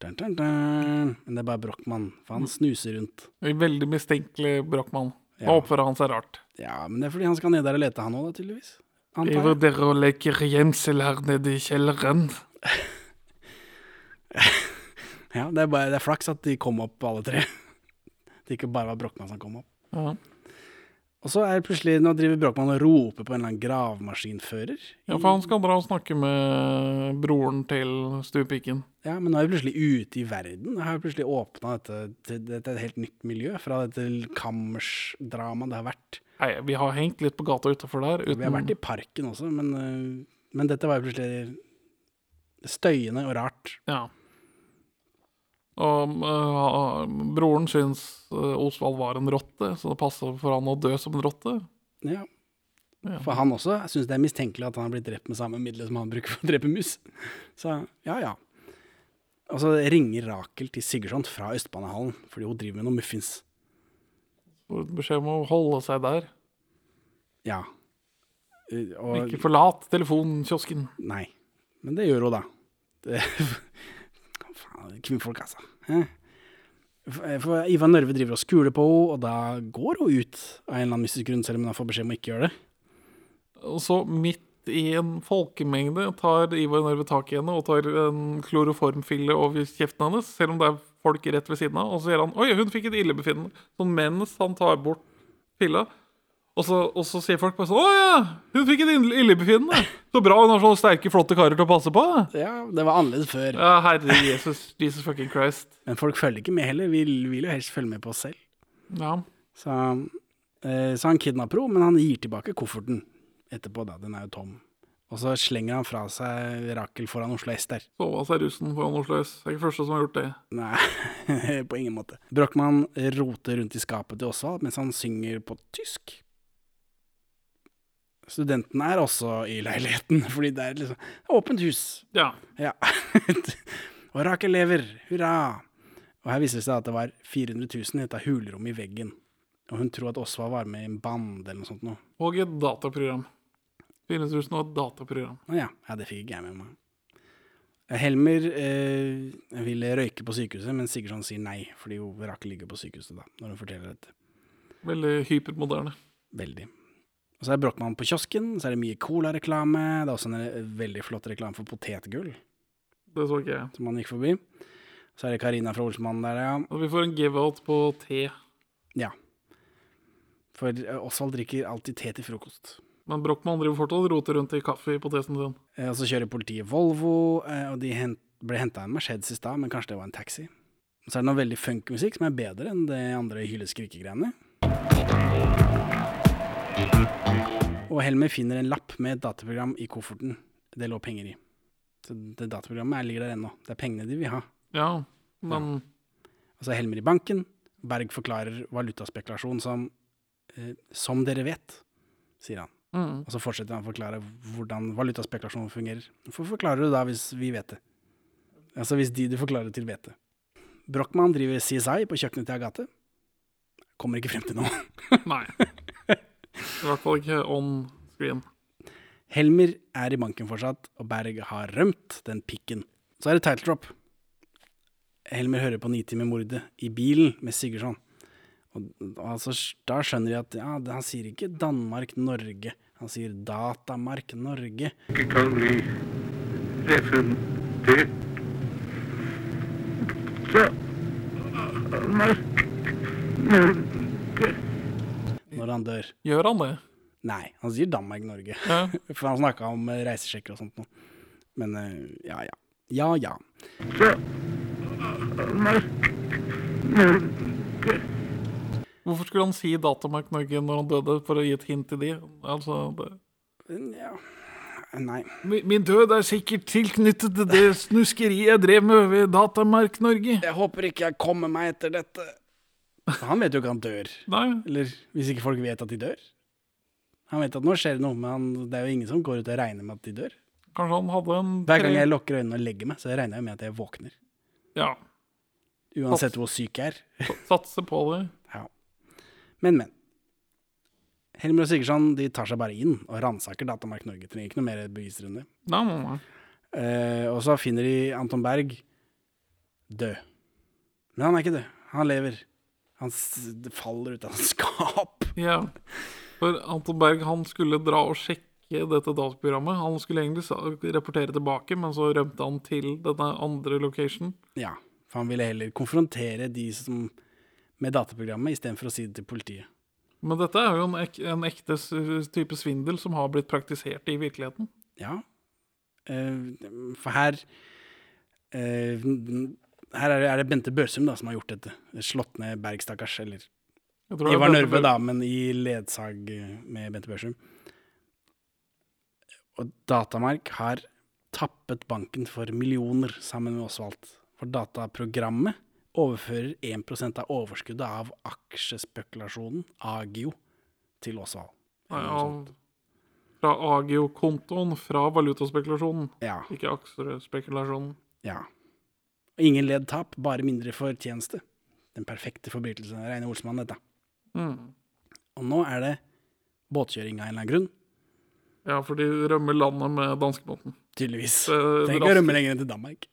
Dun, dun, dun. Men det er bare Brochmann, for han snuser rundt.
Veldig mistenkelig Brochmann.
Ja.
Og oppfører han seg rart.
Ja, men det er fordi han skal ned der og lete, han òg, da, tydeligvis. Antar
Jeg
jeg.
vurderer å leke gjemsel her nede i kjelleren.
Ja, det, er bare, det er flaks at de kom opp, alle tre. Det ikke bare var Brochmann som kom opp.
Ja.
Og så er det plutselig, nå driver Brochmann og roper på en eller annen gravemaskinfører.
ja, for han skal dra og snakke med broren til stuepiken.
Ja, men nå er vi plutselig ute i verden. Jeg har vi plutselig åpna dette til dette er et helt nytt miljø fra dette kammersdramaet det har vært.
Nei, vi har hengt litt på gata utafor der.
Vi har
Uten...
eh, vært i parken også, men, øh, men dette var jo plutselig støyende og rart.
Ja. Og øh, broren syns øh, Osvald var en rotte, så det passer for han å dø som en rotte.
Ja.
Ja.
For han også syns det er mistenkelig at han har blitt drept med samme middel som han bruker for å drepe mus. Så ja, ja. Og så ringer Rakel til Sigurdsson fra Østbanehallen fordi hun driver med noen muffins.
Får beskjed om å holde seg der.
Ja. Eh, Og
Ikke forlat telefonkiosken.
Nei. Men det gjør hun, da. Det, faen, kvinnfolk, altså. Hæ? For for Ivan Nørve driver og skuler på henne, og da går hun ut av en eller annen mystisk grunn, selv om hun får beskjed om å ikke gjøre det.
Og så midt i en folkemengde tar Ivar Narve tak i henne og tar en kloroformfille over kjeften hennes, selv om det er folk rett ved siden av. Og så sier han 'oi, hun fikk et illebefinnende', sånn mens han tar bort filla. Og så, og så sier folk bare sånn 'Å ja, hun fikk et ille- illebefinnende'. Så bra hun har sånne sterke, flotte karer til å passe på.
Ja, Det var annerledes før.
Ja, herre Jesus, Jesus fucking Christ.
Men folk følger ikke med heller. Vi vil jo helst følge med på oss selv.
Ja.
Så, eh, så han kidnapper henne, men han gir tilbake kofferten etterpå, da. Den er jo tom. Og så slenger han fra seg Rakel foran Oslo S der.
Sova seg russen foran Oslo S. Det er ikke første som har gjort det.
Nei, på ingen måte. Brochmann roter rundt i skapet til Osvald mens han synger på tysk. Studenten er også i leiligheten, fordi det er liksom åpent hus.
Ja.
Ja. og Rakel lever, hurra! Og her viser det seg at det var 400 000 i dette hulrommet i veggen. Og hun tror at Osvald var med i en band eller noe sånt noe.
Og et dataprogram. 4000 og et dataprogram.
Å ja. ja, det fikk ikke jeg med meg. Helmer eh, ville røyke på sykehuset, men Sigurdsson sier nei, fordi hun rakk ligge på sykehuset da, når hun forteller dette.
Veldig hypermoderne.
Veldig. Og så er Brochmann på kiosken, så er det mye Cola-reklame, det er også en eh, veldig flott reklame for potetgull,
Det så ikke jeg.
som han gikk forbi. Så er det Karina fra Olsmannen der, ja.
Og vi får en give-out på te.
ja. For eh, Osvald drikker alltid te til frokost.
Men Brochmann driver fortsatt og roter rundt i kaffe på testen sin.
Eh, Og så kjører politiet Volvo, eh, og de hent, ble henta en Mercedes i stad, men kanskje det var en taxi. Og så er det noe veldig funk musikk som er bedre enn det andre hylleskrikegreiene. Og Helmer finner en lapp med et dataprogram i kofferten det lå penger i. Så det dataprogrammet er- ligger der ennå. Det er pengene de vil ha.
Ja, men
Og så er Helmer i banken. Berg forklarer valutaspekulasjon som eh, 'som dere vet', sier han.
mm,
Og så fortsetter han å forklare hvordan valutaspekulasjon fungerer. Hvorfor forklarer du da hvis vi vet det? Altså hvis de du forklarer det til, vet det. Brochmann driver CSI på kjøkkenet til Agathe. Kommer ikke frem til noe.
Nei. I hvert fall ikke on screen.
Helmer er i banken fortsatt, og Berg har rømt den pikken. Så er det title drop. Helmer hører på Nitimer-mordet i bilen med Sigurdsson. Og, og altså, da skjønner de at ja, han sier ikke Danmark-Norge, han sier Datamark-Norge.
ikke kan bli refundert. Så Mark Norge
når han dør.
Gjør han det?
Nei, han sier Danmark-Norge.
Ja.
For han snakka om eh, reisesjekker og sånt noe. Men eh, ja, ja. Ja, ja.
Så Mark Norge
Hvorfor skulle han si Datamark Norge når han døde, for å gi et hint til de? Altså, det.
Men, ja. Nei.
Min min død er sikkert tilknyttet til det snuskeriet jeg drev med ved Datamark Norge.
Jeg håper ikke jeg kommer meg etter dette. Han vet jo ikke han dør.
Nei,
Eller hvis ikke folk vet at de dør. Han vet at nå skjer det noe, men han, det er jo ingen som går ut og regner med at de dør.
kanskje han hadde en
Hver gang jeg lukker øynene og legger meg, så regner jeg med at jeg våkner.
Ja,
Uansett hvor syk jeg er.
satse på det.
Ja. Men, men. Helmer og Sigurdsson de tar seg bare inn og ransaker Datamark Norge. Trenger ikke noe mer bevisrunde.
Nei, nei, nei.
Eh, og så finner de Anton Berg død. Men han er ikke død. Han lever. Han s det faller ut av et skap.
Ja, for Anton Berg han skulle dra og sjekke dette dataprogrammet. Han skulle egentlig sa- rapportere tilbake, men så rømte han til denne andre location.
Ja, for han ville heller konfrontere de som med dataprogrammet istedenfor å si det til politiet.
Men dette er jo en, ek en ekte s- type svindel som har blitt praktisert i virkeligheten.
Ja. Eh, for her eh, Her er det, er det Bente Børsum da, som har gjort dette. Slått ned Berg, stakkars. Eller
Jeg tror det er
Ivar
dette
Nørve,
Berg-
da, men i eh, ledsag med Bente Børsum. Og Datamark har tappet banken for millioner sammen med Osvald. For dataprogrammet overfører 1 av overskuddet av aksjespekulasjonen, Agio, til Osvald.
Nei, av, fra Agio-kontoen, fra valutaspekulasjonen,
Ja.
ikke aksjespekulasjonen.
ja. Ingen ledd tap, bare mindre fortjeneste. Den perfekte forbrytelse. Reine Olsmann, dette.
Mm.
Og nå er det båtkjøring av en eller annen grunn.
Ja, for de rømmer landet med danskebåten.
Tydeligvis.
Eh,
Trenger ikke
raske-
å rømme lenger enn til Danmark.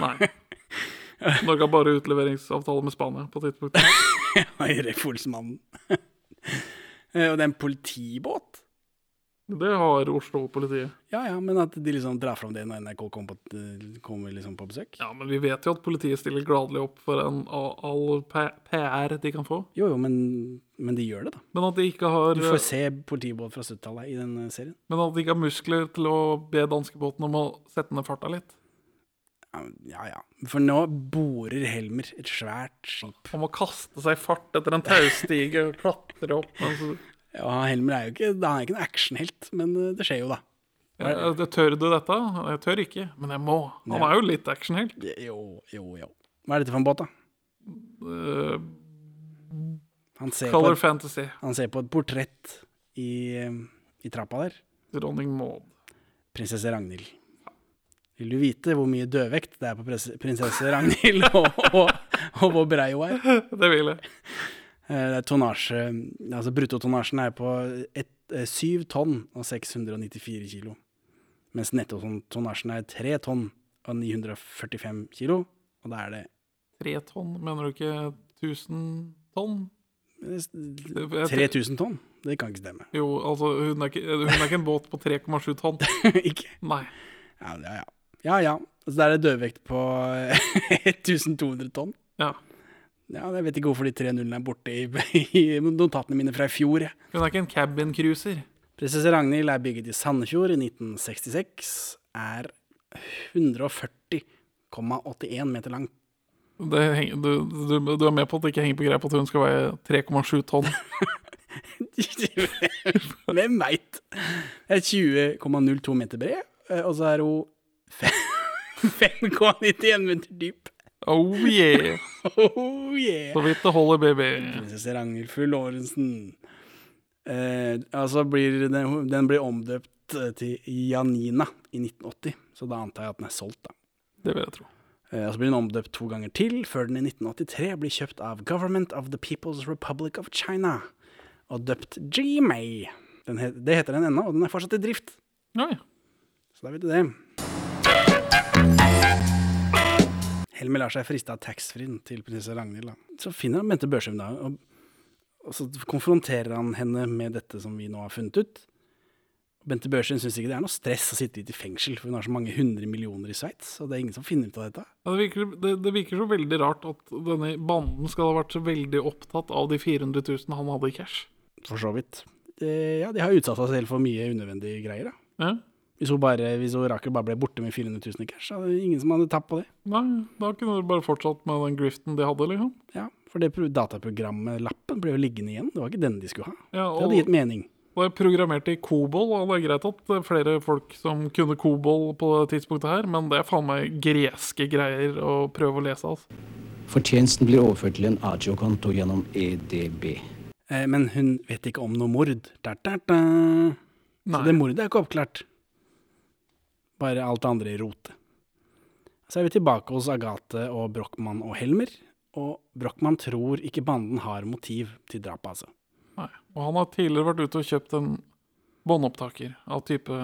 Nei. Norge har bare utleveringsavtale med Spania på tidspunktet.
Refolsmannen. Eh, Og det er en politibåt?
Det har Oslo-politiet.
Ja ja, men at de liksom drar fram det når NRK kommer på, eh, kommer liksom på besøk?
Ja, men vi vet jo at politiet stiller gladelig opp for en, all all P- PR de kan få.
Jo jo, men, men de gjør det, da.
Men at de ikke har,
Du får se politibåt fra 70-tallet i den eh, serien.
men at de ikke har muskler til å be danskebåten om å sette ned farta litt.
Ja, men- Ja ja. For nå borer Helmer et svært skip.
Om å kaste seg i fart etter en taustige og klatre opp. Altså, Men så,
Ja, Helmer er jo ikke, han er ikke en actionhelt, men eh, det skjer jo, da.
jeg, jeg, tør du dette? Jeg tør ikke, men jeg må. Han er jo litt actionhelt.
Jo, jo, jo. Hva er dette for en båt, da?
Uh,
Han ser, på
Color
et,
Fantasy.
han ser på et portrett i, eh, i trappa der.
Dronning Maud.
prinsesse Ragnhild. Vil du vite hvor mye dødvekt det er på presse- prinsesse Ragnhild, og, og, og hvor brei hun er?
Det vil jeg.
Eh, Det er tonnasje, altså bruttotonnasjen er på et, eh, 7 tonn og 694 kilo, mens nettotonnasjen er 3 tonn og 945 kilo, og da er det
Tre tonn, mener du ikke 1000 tonn?
eh, s-
Det- jeg-
3000 tonn. Det kan ikke stemme.
Jo, altså, hun er ikke, hun er ikke en båt på 3,7 tonn.
ikke?
Nei.
Ja, ja, ja. ja, ja. Så da er det dødvekt på 1200 tonn.
Ja.
Ja, jeg vet ikke hvorfor de tre nullene er borte i, i notatene mine fra i fjor. jeg.
Hun er ikke en cabin cruiser.
Prinsesse Ragnhild er bygget i Sandefjord i 1966, er 140,81 meter lang.
Det henger, du, du, du er med på at det ikke henger på greip at hun skal veie 3,7 tonn.
Hvem veit? Er 20,02 meter bred, eh, og så er hun fe- 5,91 meter dyp.
Oh yeah!
Oh yeah!
Så vidt det holder, baby.
Prinsesse Ragnhild Fru Lorentzen. Eh, altså blir den, den blir omdøpt eh, til Janina i 1980, så da antar jeg at den er solgt, da.
Det vil jeg tro.
Eh, Og så blir den omdøpt to ganger til, før den i 1983 blir kjøpt av Government of the People's Republic of China og døpt GMA. Den het, det heter den ennå, og den er fortsatt i drift.
Ja, ja.
Så da vet du det. Helmer lar seg friste av taxfree-en til prinsesse Ragnhild. Da. Så finner han Bente Børsum, da, og, og så konfronterer han henne med dette som vi nå har funnet ut. Bente Børsum syns ikke det er noe stress å sitte litt i fengsel, for hun har så mange hundre millioner i Sveits, og det er ingen som finner ut av dette.
Ja, Det virker, det, det virker så veldig rart at denne banden skal ha vært så veldig opptatt av de 400 000 han hadde i cash.
For så vidt. Eh, ja, de har utsatt seg selv for mye unødvendige greier. Da.
Ja.
Hvis hun bare, hvis hun Rakel bare ble borte med 400 000 i cash, så hadde ingen som hadde tapt på det.
Nei, da kunne du bare fortsatt med den griften de hadde, liksom.
Ja, For det pro- dataprogrammet, lappen, ble jo liggende igjen. Det var ikke den de skulle ha.
Ja,
Det
og
hadde gitt mening.
det er programmert i COBOL, og det er greit at det er flere folk som kunne COBOL på det tidspunktet her, men det er faen meg greske greier å prøve å lese, altså.
Fortjenesten blir overført til en agio-konto gjennom E EDB.
Eh, men hun vet ikke om noe mord. Da, da, da. Så
Nei.
det mordet er ikke oppklart. Bare alt det andre i rotet. Så er vi tilbake hos Agathe og Brochmann og Helmer. Og Brochmann tror ikke banden har motiv til drapet, altså.
Nei. Og han har tidligere vært ute og kjøpt en båndopptaker av type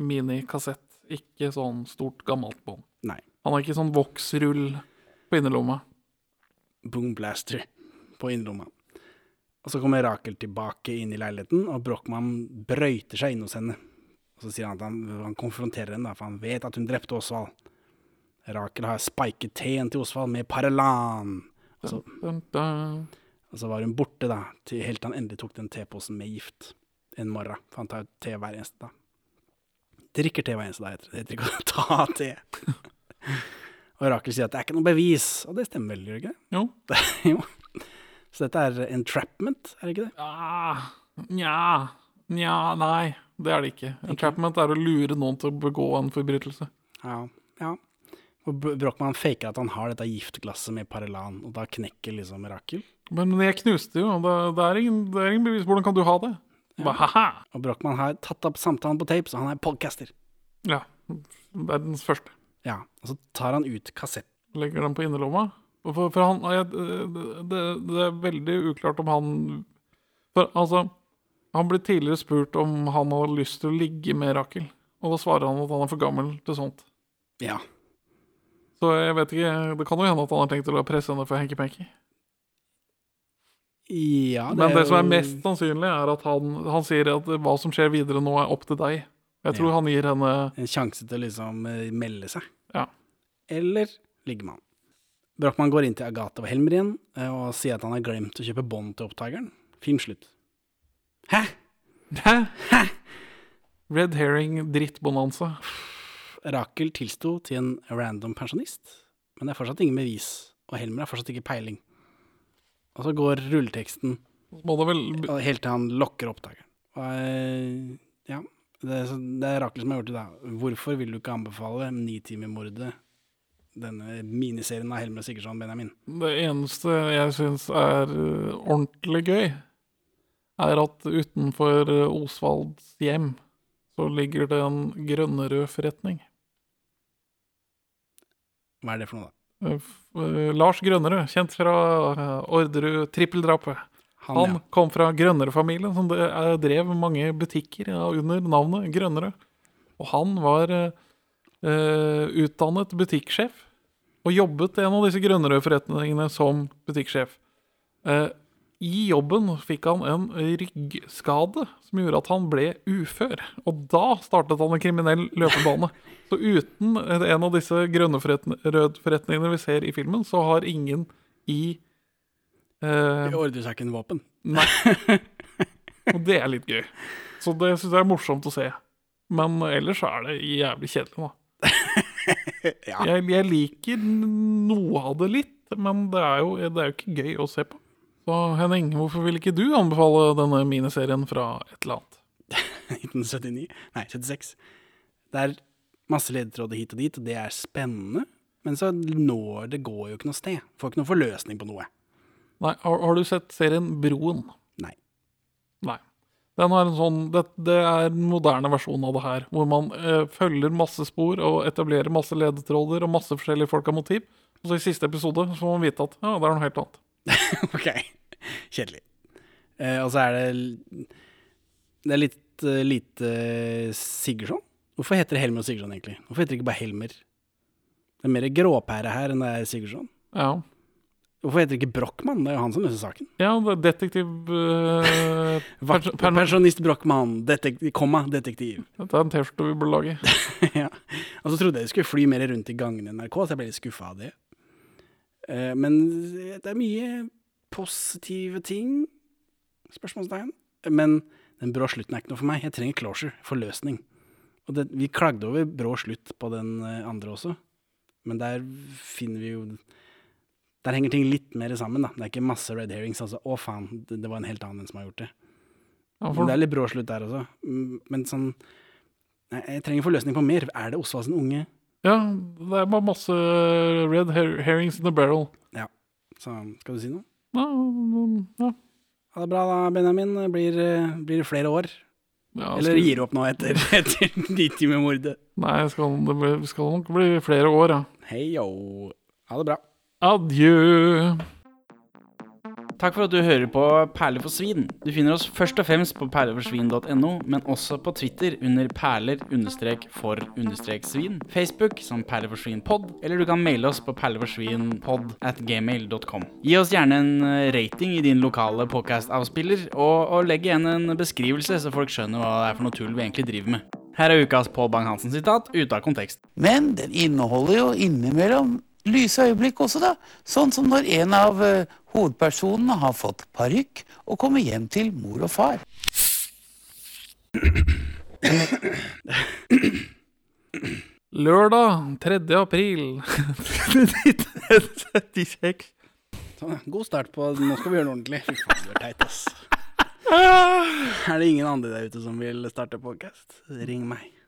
minikassett. Ikke sånn stort, gammelt bånd.
Nei.
Han har ikke sånn voksrull på innerlomma.
boom blaster på innerlomma. Og så kommer Rakel tilbake inn i leiligheten, og Brochmann brøyter seg inn hos henne. Og så sier han at han, han konfronterer henne, da, for han vet at hun drepte Osvald. Rakel har spiket teen til Osvald med Paralan. Og så,
Dun, dun.
og så var hun borte, da, til helt til han endelig tok den teposen med gift en morgen. For han tar jo te hver eneste dag. Drikker te hver eneste dag, heter det. Det heter ikke å ta te. og Rakel sier at det er ikke noe bevis, og det stemmer vel, gjør det ikke? det?
Jo.
jo. Så dette er entrapment, er det ikke det?
Ah, nja Nja, nei, det er det ikke. Entrapment er å lure noen til å begå en forbrytelse.
Ja, ja. Og Br- Brochmann faker at han har dette giftglasset med Parelan, og da knekker liksom Rakel.
Men jeg knuste jo, og det, det, er ingen, det er ingen bevis. Hvordan kan du ha det? Bare, haha.
Og Brochmann har tatt opp samtalen på tape, så han er podcaster.
Ja, verdens første.
Ja, og så tar han ut kassett.
Legger den på innerlomma. Og For, for han, jeg, det, det- det er veldig uklart om han For altså, han ble tidligere spurt om han hadde lyst til å ligge med Rakel. Og da svarer han at han er for gammel til sånt.
Ja,
Så jeg vet ikke, det kan jo hende at han har tenkt å la presse henne for hanky-panky.
ja
Men det
jo-
som er mest sannsynlig, er at han, han sier at hva som skjer videre nå, er opp til deg. Jeg tror
Ja.
han gir henne
En sjanse til å liksom eh, melde seg.
Ja.
Eller ligger man. Brochmann går inn til Agathe og Helmer igjen eh, og sier at han har glemt å kjøpe bånd til opptakeren. Film slutt. Hæ?
Hæ? Red herring drittbonanza.
Rakel tilsto til en random pensjonist, men det er fortsatt ingen bevis, og Helmer har fortsatt ikke peiling. Og så går rulleteksten
Så Må det vel
og helt til han lokker opptakeren. Og, eh, ja, det er, så- det er Rakel som har gjort det, da. Hvorfor vil du ikke anbefale Nitimermordet, denne miniserien av Helmer og Sigurdsson Benjamin?
Det eneste jeg syns er eh, ordentlig gøy, er at utenfor eh, Osvalds hjem så ligger det en grønnerød forretning.
Hva er det for noe, da?
Eh, f- eh, Lars Grønnerød, kjent fra eh, Orderud Trippeldrapet.
Han,
Han
ja.
kom fra Grønnerød-familien, som det- eh, drev mange butikker ja, under navnet Grønnerød. Og han var eh, eh, utdannet butikksjef, og jobbet i en av disse Grønnerød-forretningene som butikksjef. Eh, I jobben fikk han en ryggskade som gjorde at han ble ufør. Og da startet han en kriminell løpebane. Så uten en av disse Grønnerød-forretningene vi ser i filmen, så har ingen i eh,
I ordresaken våpen.
Nei. Og det er litt gøy. Så det syns jeg er morsomt å se. Men ellers så er det jævlig kjedelig, da.
Ja.
Jeg, jeg liker noe av det litt, men det er, jo, det er jo ikke gøy å se på. Så Henning, hvorfor vil ikke du anbefale denne miniserien fra et eller annet?
1979. Nei, 76. Det er masse ledetråder hit og dit, og det er spennende. Men så når det går jo ikke noe sted. Får ikke noe forløsning på noe.
Nei, har, har du sett serien Broen?
Nei.
Nei. Den har en sånn, det, det er en moderne versjon av det her, hvor man eh, følger masse spor og etablerer masse ledetråder og masse forskjellige folk av motiv. Og så i siste episode så får man vite at ja, det er noe helt annet.
Ok. Kjedelig. Eh, og så er det l- Det er litt eh, lite Sigurdsson. Hvorfor heter det Helmer og Sigurdsson, egentlig? Hvorfor heter det ikke bare Helmer? Det er mer gråpære her enn det er Sigurdsson.
Ja,
Hvorfor heter det ikke Brochmann? Det er jo han som løser saken.
ja det er detektiv eh,
Vakt,
perso- perso-
pensjonist Brochmann, detektiv, komma, detektiv.
Dette er en T-skjorte vi burde lage.
ja. Og så trodde jeg de skulle fly mer rundt i gangene i NRK, så jeg ble litt skuffa av det. Eh, men det er mye positive ting, spørsmålstegn. Men den brå slutten er ikke noe for meg. Jeg trenger closure, forløsning. Og det, vi klagde over brå slutt på den eh, andre også, men der finner vi jo Der henger ting litt mer sammen, da. Det er ikke masse red herrings, altså. Å, faen, det, det var en helt annen enn som har gjort det.
Ja,
Men
for,
det er litt brå slutt der også. Mm, Men sånn Nei, Jeg trenger forløsning på mer. Er det Osvald sin unge?
ja, det er bare masse red her herrings in the barrel.
Ja. Så skal du si noe?
Ja, ja.
Ha det bra da, Benjamin. Blir, eh, blir det flere år?
Ja,
Eller
skal-
gir du opp nå etter, etter nitimermordet?
Nei, skal, det blir- skal nok bli flere år, ja.
Hei yo. Ha det bra.
Adjø.
Takk for at du hører på Perler for svin. Du finner oss først og fremst på perleforsvin.no, men også på Twitter under perler-for-svin, Facebook som perleforsvinpod, eller du kan maile oss på perleforsvinpod at gmail.com. Gi oss gjerne en eh, rating i din lokale podcast-avspiller, og, og legg igjen en beskrivelse, så folk skjønner hva det er for noe tull vi egentlig driver med. Her er ukas Pål Bang-Hansen-sitat ute av kontekst.
Men den inneholder jo innimellom lyse øyeblikk også, da. Sånn som når en av eh, hovedpersonene har fått parykk og kommer hjem til mor og far.
Lørdag 3. april 1936.
Sånn, God start på Nå skal vi gjøre det ordentlig. Fy faen, du er teit, ass. Er det ingen andre der ute som vil starte podcast? Ring meg.